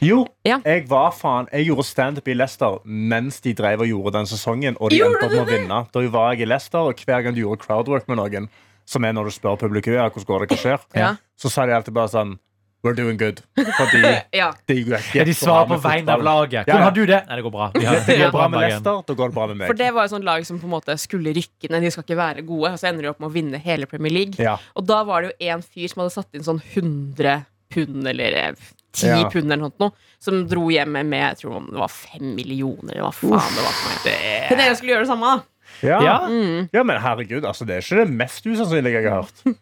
Jo,
Ja.
jeg var faen Jeg gjorde standup i Leicester mens de drev og gjorde den sesongen. Og de
Gjorde
endte opp med å vinne. Da var jeg i Leicester, og hver gang du gjorde crowdwork med noen, som er når du spør publikum ja, hvordan går det, hva skjer,
Ja.
så sa de alltid bare sånn We're doing good. Fordi
Ja.
det gikk
Ja, de svarer
bra med
på vegne av
fotballen. Ja,
laget. Hvordan
ja.
har du det? Nei, det går bra. Vi har,
Det går bra med
Bergen.
Leicester, da går det bra med meg.
For det var jo sånn lag som på en måte skulle rykke ned. De skal ikke være gode. Og så ender de opp med å vinne hele Premier League.
Ja.
Og da var det jo en fyr som hadde satt inn sånn 100 pund eller eh, 10
Ja.
pund eller noe sånt, noe, som dro hjem med jeg tror det var 5 millioner eller hva faen det var. for noe. Så dere skulle gjøre det samme, da.
Ja.
Ja.
Ja, men herregud, altså, det er ikke det mest usannsynlige jeg har hørt.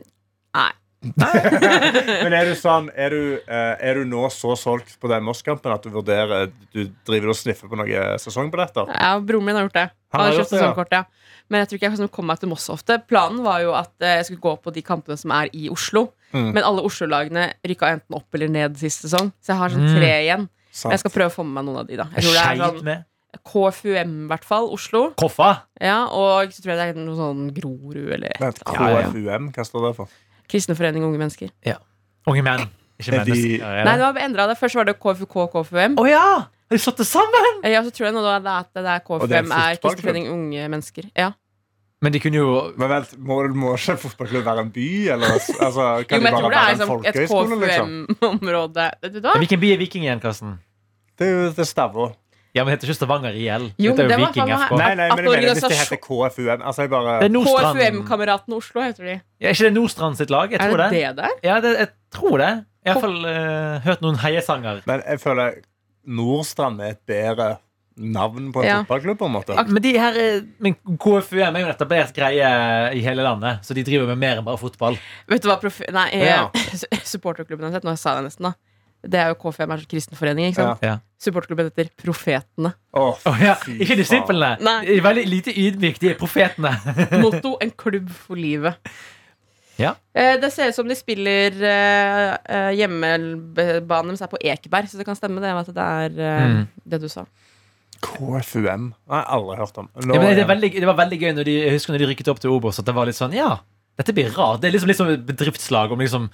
Nei.
Men er du sånn Er du, eh, er du nå så solgt på den Moss-kampen at du vurderer Du driver og sniffer på noen sesongbilletter?
Ja, broren min har gjort det. Han har kjøpt
gjort det, ja.
sesongkort, ja. Men jeg tror ikke jeg liksom kom meg til Moss så ofte. Planen var jo at eh, jeg skulle gå på de kampene som er i Oslo.
Mm.
Men alle Oslo-lagene rykka enten opp eller ned sist sesong. Så jeg har sånn tre igjen. Men jeg
Mm. Sant.
skal prøve å få med meg noen av de, da. Jeg tror det er
Skeit
sånn
med.
KFUM, i hvert fall. Oslo.
Koffa?
Ja, og så tror jeg det er noe sånn Grorud eller et
Vent,
eller annet.
Ja, ja.
KFUM, hva står det for?
Kristne forening unge mennesker.
Unge menn. Ikke
Er de-
mennesker. er det?
Nei, det var endra. Først var det KFUK KFUM.
Å ja! Har de satt det sammen?
Eh, Ja, så tror jeg nå da det er at det er
det er
KFUM er
fotballklubb.
Kristne forening unge mennesker. Ja.
Men de kunne jo
Men vent, Må, må ikke en fotballklubb være en by? Eller, altså,
Jo,
kan det
men jeg
bare
tror det
være
er
en
liksom et
folkehøyskole? Liksom?
KFUM-område. Vet du hva?
Hvilken by er Viking igjen, Karsten?
Det er jo det Stavå.
Ja, men Det heter ikke Stavanger IL.
Jo,
det er
det
jo
var
Viking
faen meg-
FK.
Nei, nei,
At
men jeg mener hvis det
organisasjon-
heter KFUM altså, jeg bare,
Det er Nordstrand.
KFUM-kameratene Oslo heter de.
Ja, er ikke det Nordstrand sitt lag? Jeg
Er
tror
det
det.
det der?
Ja, det, jeg tror det. Jeg har iallfall uh, hørt noen heiesanger.
Men jeg føler Nordstrand er et bedre navn på en
Ja.
fotballklubb, på en måte.
Men de her, eh, men KFUM er jo en etablert greie i hele landet, så de driver med mer enn bare fotball.
Vet du hva prof... Nei, eh,
Ja.
supporterklubben heter. Nå sa jeg det nesten, da. Det er jo KFUM, er kristenforening. ikke sant?
Ja. Ja.
Supporterklubben heter Profetene.
Å,
Å ja.
fy
Ikke
faen.
disiplene.
Nei.
De er Veldig lite ydmyke. De er profetene.
Motto en klubb for livet.
Ja.
Eh, Det ser ut som de spiller eh, eh, hjemmebanen deres er på Ekeberg, så det kan stemme det at det er eh,
Mm.
det du sa.
KFUM? Nei, jeg har aldri hørt om. Nå,
Ja, men det,
igjen.
er veldig, det var veldig gøy når de, jeg husker når de rykket opp til Obos. At det var litt sånn, ja, dette blir rart. Det er liksom, litt som et bedriftslag om liksom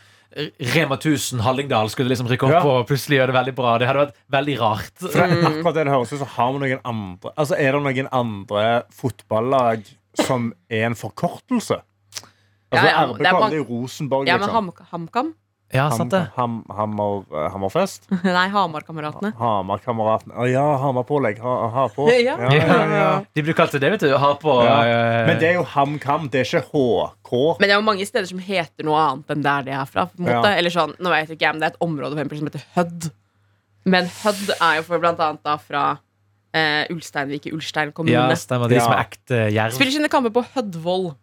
Rema 1000 Hallingdal skulle liksom rykke opp
Ja.
og plutselig gjøre det veldig bra. Det hadde vært veldig rart.
For det, akkurat det det høres ut som, har vi noen andre Altså, er det noen andre fotballag som er en forkortelse? Altså,
Ja, ja,
RBK,
det
det
er
er,
mange-
jo Rosenborg,
Ja, men
liksom.
Ham HamKam?
Ja,
Ham,
sant det.
ham, hammer, eh, hammerfest?
Nei, Hamar-kameratene.
Hamarkameratene. Å ja, Hamarpålegg. Ha, ha på.
Ja.
De blir kalt det, vet du. Ha på
Ja.
eh,
Men det er jo HamKam, det er ikke HK.
Men det er jo mange steder som heter noe annet enn der de er fra. På en måte.
Ja.
Eller sånn, nå vet jeg ikke jeg, men Det er et område for eksempel, som heter Hødd. Men Hødd er jo for blant annet da fra eh, Ulsteinvik i Ulstein kommune.
Ja, stemmer. De som
Ja.
er ekte jerv.
Spiller sine kamper på Hødvoll.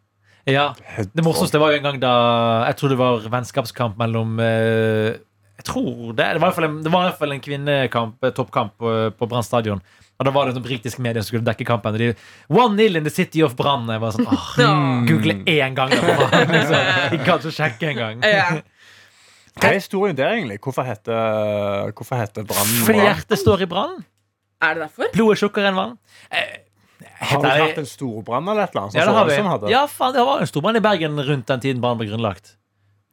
Ja. Det morsomste var jo en gang da Jeg tror det var vennskapskamp mellom eh, Jeg tror det. Det var i hvert fall en, det var i hvert fall en kvinnekamp, eh, toppkamp, på, på Brann stadion. Og da var det noen britiske medier som skulle dekke kampen. Og de 1-0 in the city of Brann. Jeg var sånn, åh,
Ja.
Google én gang, da! for faen, Liksom. Jeg kan ikke sjekke engang.
Ja.
Hva er historien der, egentlig? Hvorfor heter, hvorfor heter brannen
Fordi
brann?
hjertet står i brann.
Er det derfor?
Blodet er tjukkere enn vann.
Har vi
Nei.
hatt en storbrann eller et eller annet?
Ja, det
sånn
har
som Ålesund
vi.
hadde?
Ja, faen, det var en stor brann i Bergen rundt den tiden Brann ble grunnlagt.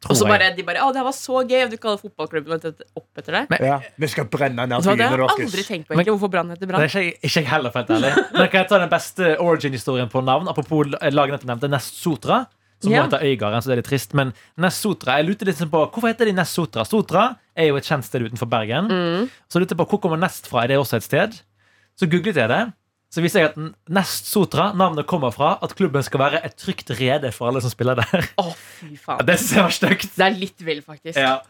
Tror
Og så
jeg.
bare, de bare Å, det her var så gøy! Og du kaller fotballklubben etter- opp etter det?
Ja. Vi skal brenne ned
Så det
byene
har jeg aldri
deres.
tenkt på egentlig, hvorfor Brann heter
Det
Brann.
er ikke, jeg- ikke jeg heller, for å være helt ærlig. Men kan jeg ta den beste origin-historien på navn? Apropos lagene jeg nevnte, Nest Sotra. Som
Ja.
må ta Øygarden, så det er litt trist. Men Nest Sotra, jeg lurte litt sånn på Hvorfor heter de Nest Sotra? Sotra er jo et kjent sted utenfor Bergen.
Mm.
Så jeg lurte på hvor kommer Nest fra? Er det også et sted? Så googlet jeg det. Så viser jeg at Nest Sotra, navnet kommer fra at klubben skal være et trygt rede for alle som spiller der.
Å, fy
Ja,
faen.
det synes jeg var stygt.
Det er litt vel, faktisk.
Ja.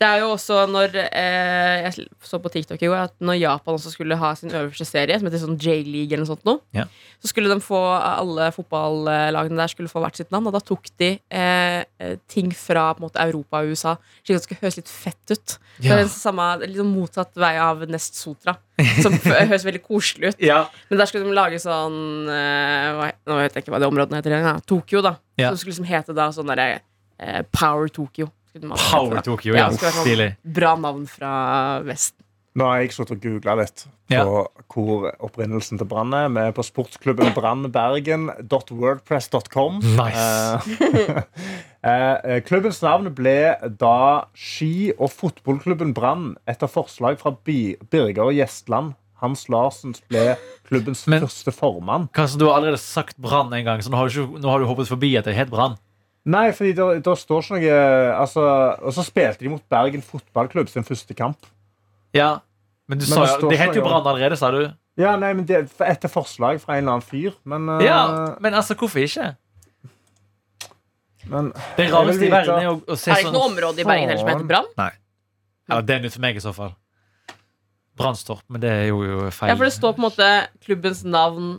Det er jo også når eh, Jeg så på TikTok i går at når Japan også skulle ha sin øverste serie, som heter sånn J-league eller noe sånt, nå,
Ja.
så skulle de få alle fotballagene der skulle få hvert sitt navn. Og da tok de eh, eh, ting fra på en måte, Europa og USA, slik at det skulle høres litt fett ut. Så
Ja.
det er den samme, litt sånn motsatt vei av Nest Sotra, som f- høres veldig koselig ut.
Ja.
Men der skulle de lage sånn eh, hva, Nå vet jeg ikke hva det området heter. Ja. Tokyo, da.
Ja.
Som skulle liksom hete da sånn derre eh, Power Tokyo. skulle de ha det
Power
etter, da.
Tokyo, ja.
det skulle være
Stilig.
sånn Bra navn fra Vesten.
Nå har jeg sittet og googla litt på
Ja.
hvor opprinnelsen til brannen er. Vi er på sportsklubben brannbergen.wordpress.com.
Nice.
Eh, eh, klubbens navn ble da ski- og fotballklubben Brann etter forslag fra Bi Birger Gjestland. Hans Larsen ble klubbens
Men-
første formann.
Karsten, du har allerede sagt Brann en gang, så nå har du, ikke, nå har du hoppet forbi at det het Brann.
Nei, fordi da, da står ikke noe altså, Og så spilte de mot Bergen fotballklubb sin første kamp.
Ja. Men du
Men
sa
det
jo
står
Det het
så,
jo
ja.
Brann allerede, sa du.
Ja, nei, men det, Etter forslag fra en eller annen fyr. Men, eh,
Ja, Men altså, hvorfor ikke?
men
Det
Jeg
rareste
vil
i
vite-
verden er jo å se
Er det ikke
sånn
noe område i Bergen heller som heter Brann?
Ja, Det er nytt for meg, i så fall. Brannstorp, men det er jo, jo feil.
Ja, for det står på en måte klubbens navn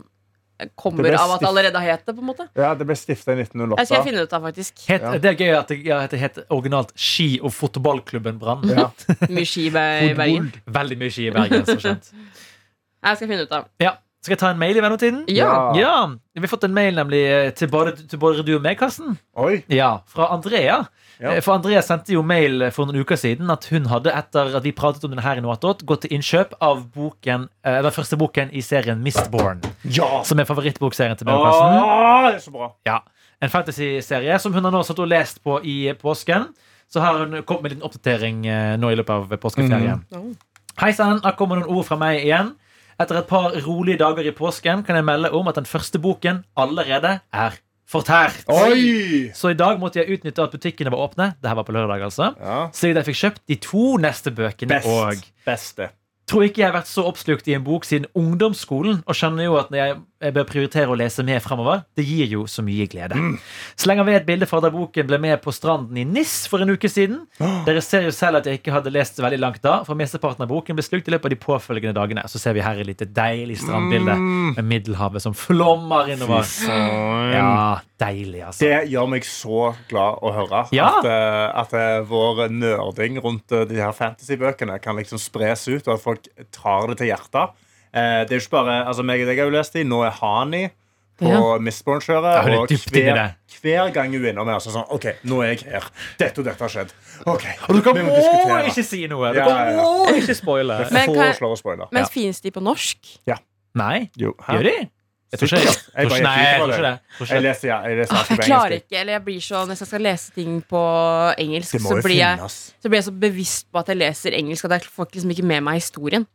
eh, kommer
Det ble
av at det
stift-
allerede har hett det, på en måte.
ja, det ble stifta i
Jeg skal
1908.
finne ut av, faktisk.
Het,
Ja.
Det er gøy at det, ja, at det het originalt Ski- og fotballklubben Brann.
Ja.
Mye ski i Be- i Bergen.
Veldig mye ski i Bergen. som kjent.
Jeg skal finne ut av.
Ja. Skal jeg ta en mail i mellomtiden?
Ja.
ja. Vi har fått en mail nemlig eh, til både, til både du og meg, Karsten.
Oi.
Ja, fra Andrea.
Ja.
Eh, For Andrea sendte jo mail eh, for noen uker siden at hun hadde etter at vi pratet om den her i noe attåt, gått til innkjøp av boken, eh, den første boken i serien Mistborn.
Ja!
Som er favorittbokserien til meg og Karsten.
Åh, det er så bra.
Ja. En fantasyserie som hun har nå satt og lest på i påsken. Så har hun kommet med en liten oppdatering eh, nå i løpet av påskeferien.
Mhm.
Mm.
Hei sann, her kommer noen ord fra meg igjen. Etter et par rolige dager i påsken kan jeg melde om at den første boken allerede er fortært.
Oi!
Så i dag måtte jeg utnytte at butikkene var åpne. Det her var på lørdag, altså.
Ja.
Slik at jeg fikk kjøpt de to neste bøkene
Best.
og
Beste.
Tror ikke jeg har vært så oppslukt i en bok siden ungdomsskolen, og skjønner jo at når jeg, jeg bør prioritere å lese mer fremover. Det gir jo så mye glede. Slenger ved et bilde fra da boken ble med på stranden i NIS for en uke siden. Dere ser jo selv at jeg ikke hadde lest veldig langt da, for mesteparten av boken ble slukt i løpet av de påfølgende dagene. Så ser vi her et lite deilig strandbilde med Middelhavet som flommer innover. Ja, deilig, altså.
Det gjør meg så glad å høre.
Ja.
At, eh, at eh, vår nerding rundt eh, de her fantasybøkene kan liksom spres ut, og at folk tar det til hjertet. Eh, det er jo ikke bare, altså meg og deg har jo lest de, nå er Hani på
Ja.
Mistborn-kjøret.
Ja, hun er
og
dypt inn i
hver,
det.
hver gang hun er innom her, så er det sånn OK, nå er jeg her. Dette og dette har skjedd. OK,
Og du kan
vi må
må
diskutere.
ikke si noe! Du
Ja,
kan
ja, ja.
må ikke spoile!
Men kan-
Foreslår å spoile.
Men finnes de på norsk?
Nei,
Jo, hæ?
gjør de? Jeg tror ikke det.
Jeg bare
Nei, jeg
gikk ut
tror
fra
ikke
det.
det. Tror ikke
Jeg
det.
leser, ja, jeg leser
Åh,
alltid
jeg
på
klarer
engelsk.
ikke, eller jeg blir sånn Hvis jeg skal lese ting på engelsk,
Det må
så
jo
blir jeg,
finnes.
så blir jeg så bevisst på at jeg leser engelsk at jeg får ikke liksom ikke med meg historien.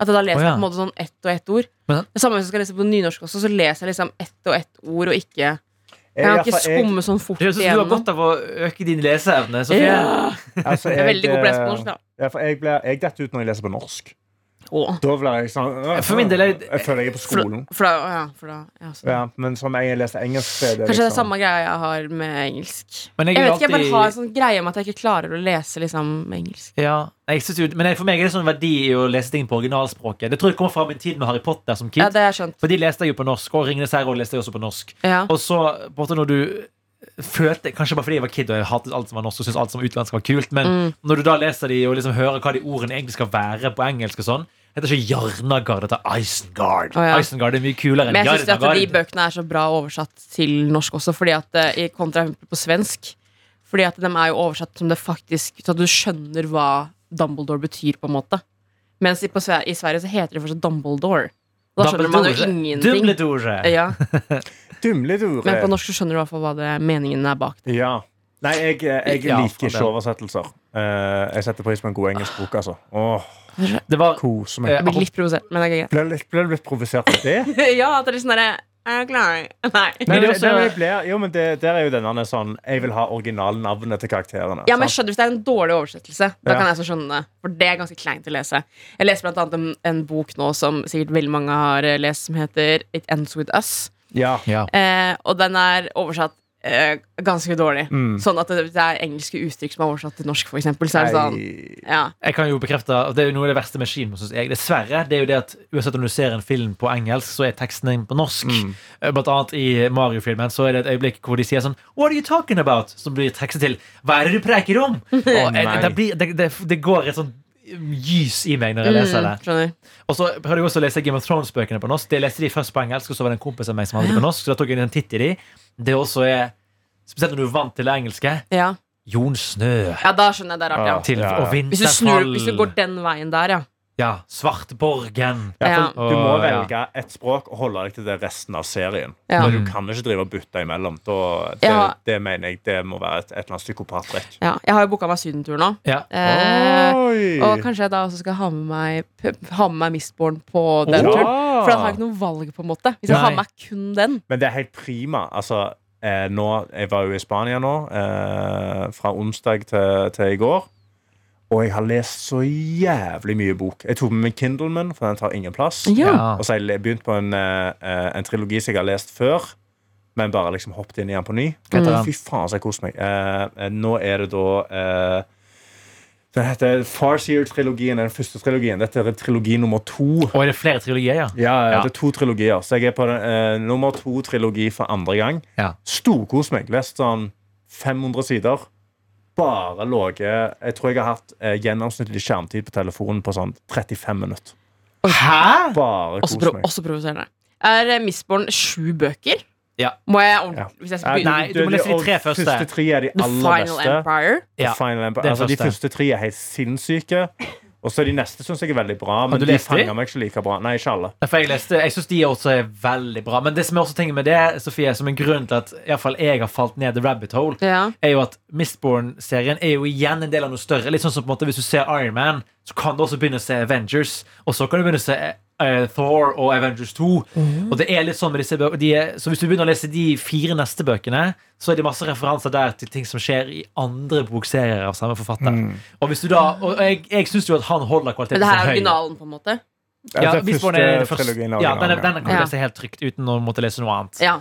At jeg da leser
Å, ja.
på en måte sånn ett og ett ord.
Men-
Det samme hvis jeg skal lese på nynorsk også, så leser jeg liksom ett og ett ord og ikke Jeg kan
Jeg-
ikke
for jeg-
skumme sånn fort
Det høres ut som du har
igjennom.
godt av å øke din leseevne. Sofie.
Ja.
altså,
Jeg er veldig god på å lese på norsk,
eh,
da.
Ja, for jeg, ble, jeg detter ut når jeg leser på norsk.
Åh.
Da blir jeg sånn øh,
For min del er-
Jeg føler jeg er på skolen.
For da, ja, for da, ja, så.
Ja, men som jeg leste engelsk, så er det
Kanskje det er
liksom
samme greia jeg har med engelsk.
Men jeg
Jeg
er
vet
jo
ikke, jeg bare
alltid-
har en sånn greie med at jeg ikke klarer å lese liksom, engelsk.
Ja, jeg synes jo, men jeg- for meg er det sånn verdi i å lese ting på originalspråket. Det tror jeg kommer fra min tid med Harry Potter som kid.
Ja, det har jeg skjønt.
For de leste jeg jo på norsk, og Ringenes herre også leste jeg også på norsk.
Ja.
Og så, på en måte, når du følte Kanskje bare fordi jeg var kid og jeg hatet alt som var norsk og syntes alt som var utenlandsk var kult, men
Mm.
når du da leser de og liksom hører hva de ordene egentlig skal være på engelsk og sånn det heter ikke Jarnagard, det heter Isengard.
Å, ja.
Isengard er mye kulere
Men
enn
jeg syns at de
Jarnagard.
bøkene er så bra oversatt til norsk også, fordi at eh, i kontra på svensk. Fordi at de er jo oversatt som det faktisk Så at du skjønner hva Dumbledore betyr, på en måte. Mens i, på, Sve- i Sverige så heter det fortsatt Dumbledore. Og Da skjønner man jo
Dumbledore.
ingenting.
Dumbledore.
Ja,
Dumledore.
men på norsk så skjønner du i hvert fall hva det, meningen er bak.
Ja. Nei, jeg, eh, jeg
Ja,
liker
faen, det-
ikke oversettelser. Eh, jeg setter pris på en god engelsk bok, altså. Åh,
Det var
kose
Eh,
meg.
Jeg blir litt provosert, men det er greit.
Ble litt, ble litt provosert av det?
ja, at det er litt sånn derre Er du klar? Nei.
Nei,
Men det er
det,
også-
det, jeg blir- jo, men det, der er jo denne sånn Jeg vil ha originalnavnet til karakterene.
Ja, men jeg
sant?
skjønner Hvis det er en dårlig oversettelse, da
Ja.
kan jeg så skjønne det. For det er ganske kleint å lese. Jeg leser blant annet en, en bok nå som sikkert veldig mange har eh, lest, som heter It Ends With Us.
ja.
ja.
Eh, og den er oversatt eh, ganske dårlig.
Mm.
Sånn at det, det er engelske uttrykk som er oversatt til norsk, for eksempel. Så er det sånn,
Nei.
ja.
Jeg kan jo bekrefte at Det er jo noe av det verste med kino, synes jeg. Dessverre. Det er jo det at uansett om du ser en film på engelsk, så er teksten din på norsk.
Mm.
Eh, Blant annet i Mario-filmen så er det et øyeblikk hvor de sier sånn What are you talking about? Som blir tekstet til Hva er det du preker om? Og jeg,
nei.
det, blir, det, det, det går et sånn gys i meg når jeg leser det.
Mm, skjønner.
Og så prøvde jeg også å lese Game of Thrones-bøkene på norsk. Det leste de først på engelsk, og så var det en kompis av meg som hadde det på norsk. Så da tok jeg en titt i de. Det også er Spesielt når du er vant til det engelske.
Ja.
Jon Snø.
ja, da skjønner jeg det er rart, ja.
Til,
Ja, ja.
Og vinterfall.
Hvis du, snur, hvis du går den veien der, ja.
Ja. Svartborgen.
Ja.
Du må
Åh, ja.
velge ett språk og holde deg til det resten av serien.
Ja.
Men du kan ikke drive og bytte imellom. Da, det,
Ja.
det mener jeg det må være et, et eller annet psykopattrekk.
ja. Jeg har jo booka meg sydentur nå.
Ja.
Eh,
Oi.
Og kanskje jeg da også skal ha med meg, p- ha med meg Mistborn på den
Ja.
turen. For da har jeg ikke noe valg, på en måte. Hvis jeg
Nei.
har med meg kun den.
Men det er helt prima. Altså, eh, nå, jeg var jo i Spania nå, eh, fra onsdag til, til i går. Og jeg har lest så jævlig mye bok. Jeg tok med meg Kindlen min, for den tar ingen plass.
Ja.
Og så har jeg le- begynt på en, eh, eh, en trilogi som jeg har lest før, men bare liksom hoppet inn i den på ny.
Hva heter den?
Fy faen, så jeg koser meg. Eh, eh, nå er det da eh, Den heter Farseer-trilogien. Den første trilogien. Dette er trilogi nummer to.
Og er det flere trilogier, ja?
Ja, ja,
Ja.
det er to trilogier. Så jeg er på den, eh, nummer to-trilogi for andre gang.
Ja.
Storkos meg. Lest sånn 500 sider. Bare ligget Jeg tror jeg har hatt eh, gjennomsnittlig skjermtid på telefonen på sånn 35 minutter.
Hæ?
Bare
Også,
kos
pro
meg.
også provoserende. Er eh, Mistborn sju bøker?
Ja. Eh,
Må jeg ordentlig
Ja.
Hvis jeg skal
Nei,
begynne
Nei, du må lese de tre første.
første tre er de
The
aller
Final
beste.
Empire?
The
Ja,
Final Empire.
det er
Altså, de
første.
første tre er helt sinnssyke. Og så de neste syns jeg er veldig bra, men
du
de
lest de?
fanger meg ikke like bra. Nei, ikke alle.
For jeg leste, jeg syns de også er veldig bra. Men det som er også tingen med det, Sofie, som en grunn til at i hvert fall jeg har falt ned the rabbit hole,
Ja.
er jo at Mistborn-serien er jo igjen en del av noe større. Litt sånn som på en måte Hvis du ser Iron Man, så kan du også begynne å se Avengers. Og så kan du begynne å se eh, Thor og Avengers 2. Og det er litt sånn med disse bøkene de er- Så hvis du begynner å lese de fire neste bøkene, så er det masse referanser der til ting som skjer i andre bokserier av samme forfatter.
Mm.
Og hvis du da Og jeg, jeg syns jo at han holder
Men
kvaliteten
det her er
så høy.
originalen, på en måte?
Ja,
Altså,
Mistborn er det første-
trilogien er
ja, den,
originalen,
den kan du
Ja.
lese helt trygt uten å måtte lese noe annet.
Ja.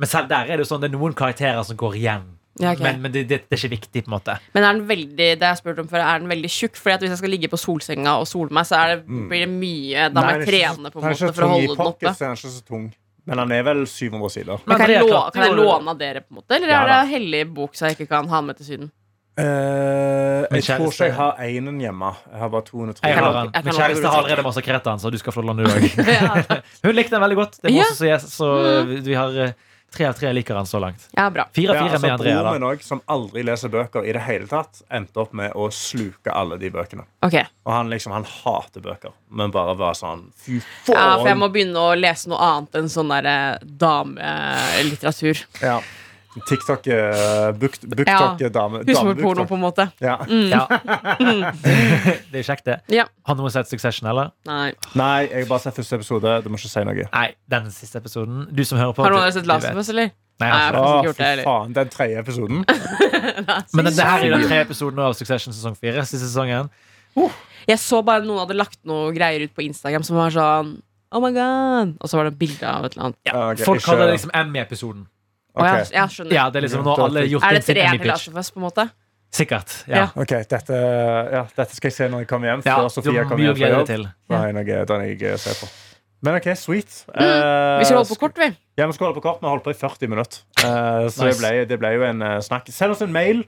Men selv der er det jo sånn, det er noen karakterer som går igjen.
Ja, ok.
Men, men det, det, det er ikke viktig, på en måte.
Men er den veldig det jeg har spurt om før, er den veldig tjukk? Fordi at Hvis jeg skal ligge på solsenga og sole meg, så er det, blir det
Mm. Nei,
mye Da må jeg
den er ikke så-
trene på en
den er ikke
måte
så
for å
tung i
holde den
pocket,
oppe.
så Den er ikke så tung. Men den er vel 700 sider.
Men kan,
Andrea
jeg lå,
klarte
kan jeg
jo-
låne av dere, på en måte? Eller
Ja,
er det
da.
hellig bok så jeg ikke kan ha med til Syden?
Eh, jeg
kjæreste-
tror ikke jeg har einen hjemme. Jeg har bare 203.
Jeg
kan
har den.
lage- jeg kan
Min
lage
kjæreste har allerede massakrert den, så du skal få låne den du òg.
Ja,
Hun likte den veldig godt. Det må
Ja.
også sies, så vi har eh, tre av tre liker den så langt.
ja bra.
Fire av
Ja,
fire
altså,
med Andrea,
broren
da.
min også, som aldri leser bøker i det hele tatt, endte opp med å sluke alle de bøkene.
Ok
Og han liksom, han hater bøker, men bare var sånn Fy
Ja, for jeg må
faen!
begynne å lese noe annet enn sånn der eh, damelitteratur.
Ja, TikTok eh, book- BookTok
Ja.
eh, dame
Husmorporno,
dame-
på Mm. en måte.
Ja.
Ja. det er kjekt, det.
Ja.
Har noen sett Succession, eller?
Nei.
Nei, jeg har bare sett første episode. Du må ikke si noe.
Nei, den siste episoden. Du som hører på.
Har
du-
noen av dere sett
du
Last
vet.
of Us, eller?
Nei, altså.
Nei, jeg har faktisk ikke
Å,
gjort det
fy
heller.
faen, den tredje episoden.
Men det her er den tre episoden av Succession sesong fire. Siste sesongen.
Jeg så bare noen hadde lagt noe greier ut på Instagram som var sånn Oh my god Og så var det bilde av et eller annet.
Ja, ok,
Folk
ikke-
kaller det liksom Emmy-episoden.
Å,
ok,
jeg, jeg skjønner.
Ja, det Er liksom nå alle har gjort
Er det
inn sin
treeren til
Emmy-pitch.
Last of Us, på en måte?
Sikkert.
Ja.
Ja.
ok, dette, ja, dette skal jeg se når jeg kommer hjem.
Ja,
Før
du
Sofia
har
kommer
mye
hjem
å
fra
glede deg
jobb.
til.
Det er noe den jeg eh, ser på. Men OK, sweet.
Mm.
Eh,
Vi skal holde på kort, vi.
Ja, vi skal holde på kort. Vi har holdt på i 40 minutter. Eh, så det,
Nice.
ble, det ble jo en eh, snakk. Send oss en mail.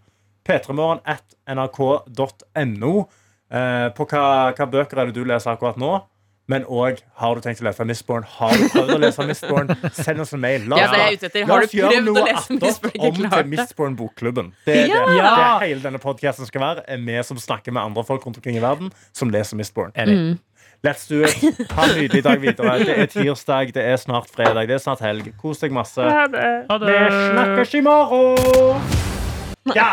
P3morgen at nrk.no. eh, på hva, hva bøker er det du leser akkurat nå? Men òg har du tenkt å lese Mistborn? Har du prøvd å lese Mistborn? Send oss en mail. La
Ja,
oss-
det er jeg ute etter.
la
Har
oss
du prøvd
gjøre
å
noe
lese
attåt
Mistborn? Ikke
Om
klart
til
det.
Mistborn Bokklubben. Det er det, det
Ja!
er hele denne podcasten skal være. Er vi som snakker med andre folk rundt omkring i verden, som leser Mistborn.
Enig.
Let's do it. Ha en nydelig dag videre. Det er tirsdag, det er snart fredag, det er snart helg. Kos deg masse.
Ha
Vi snakkes i morgen! Ja!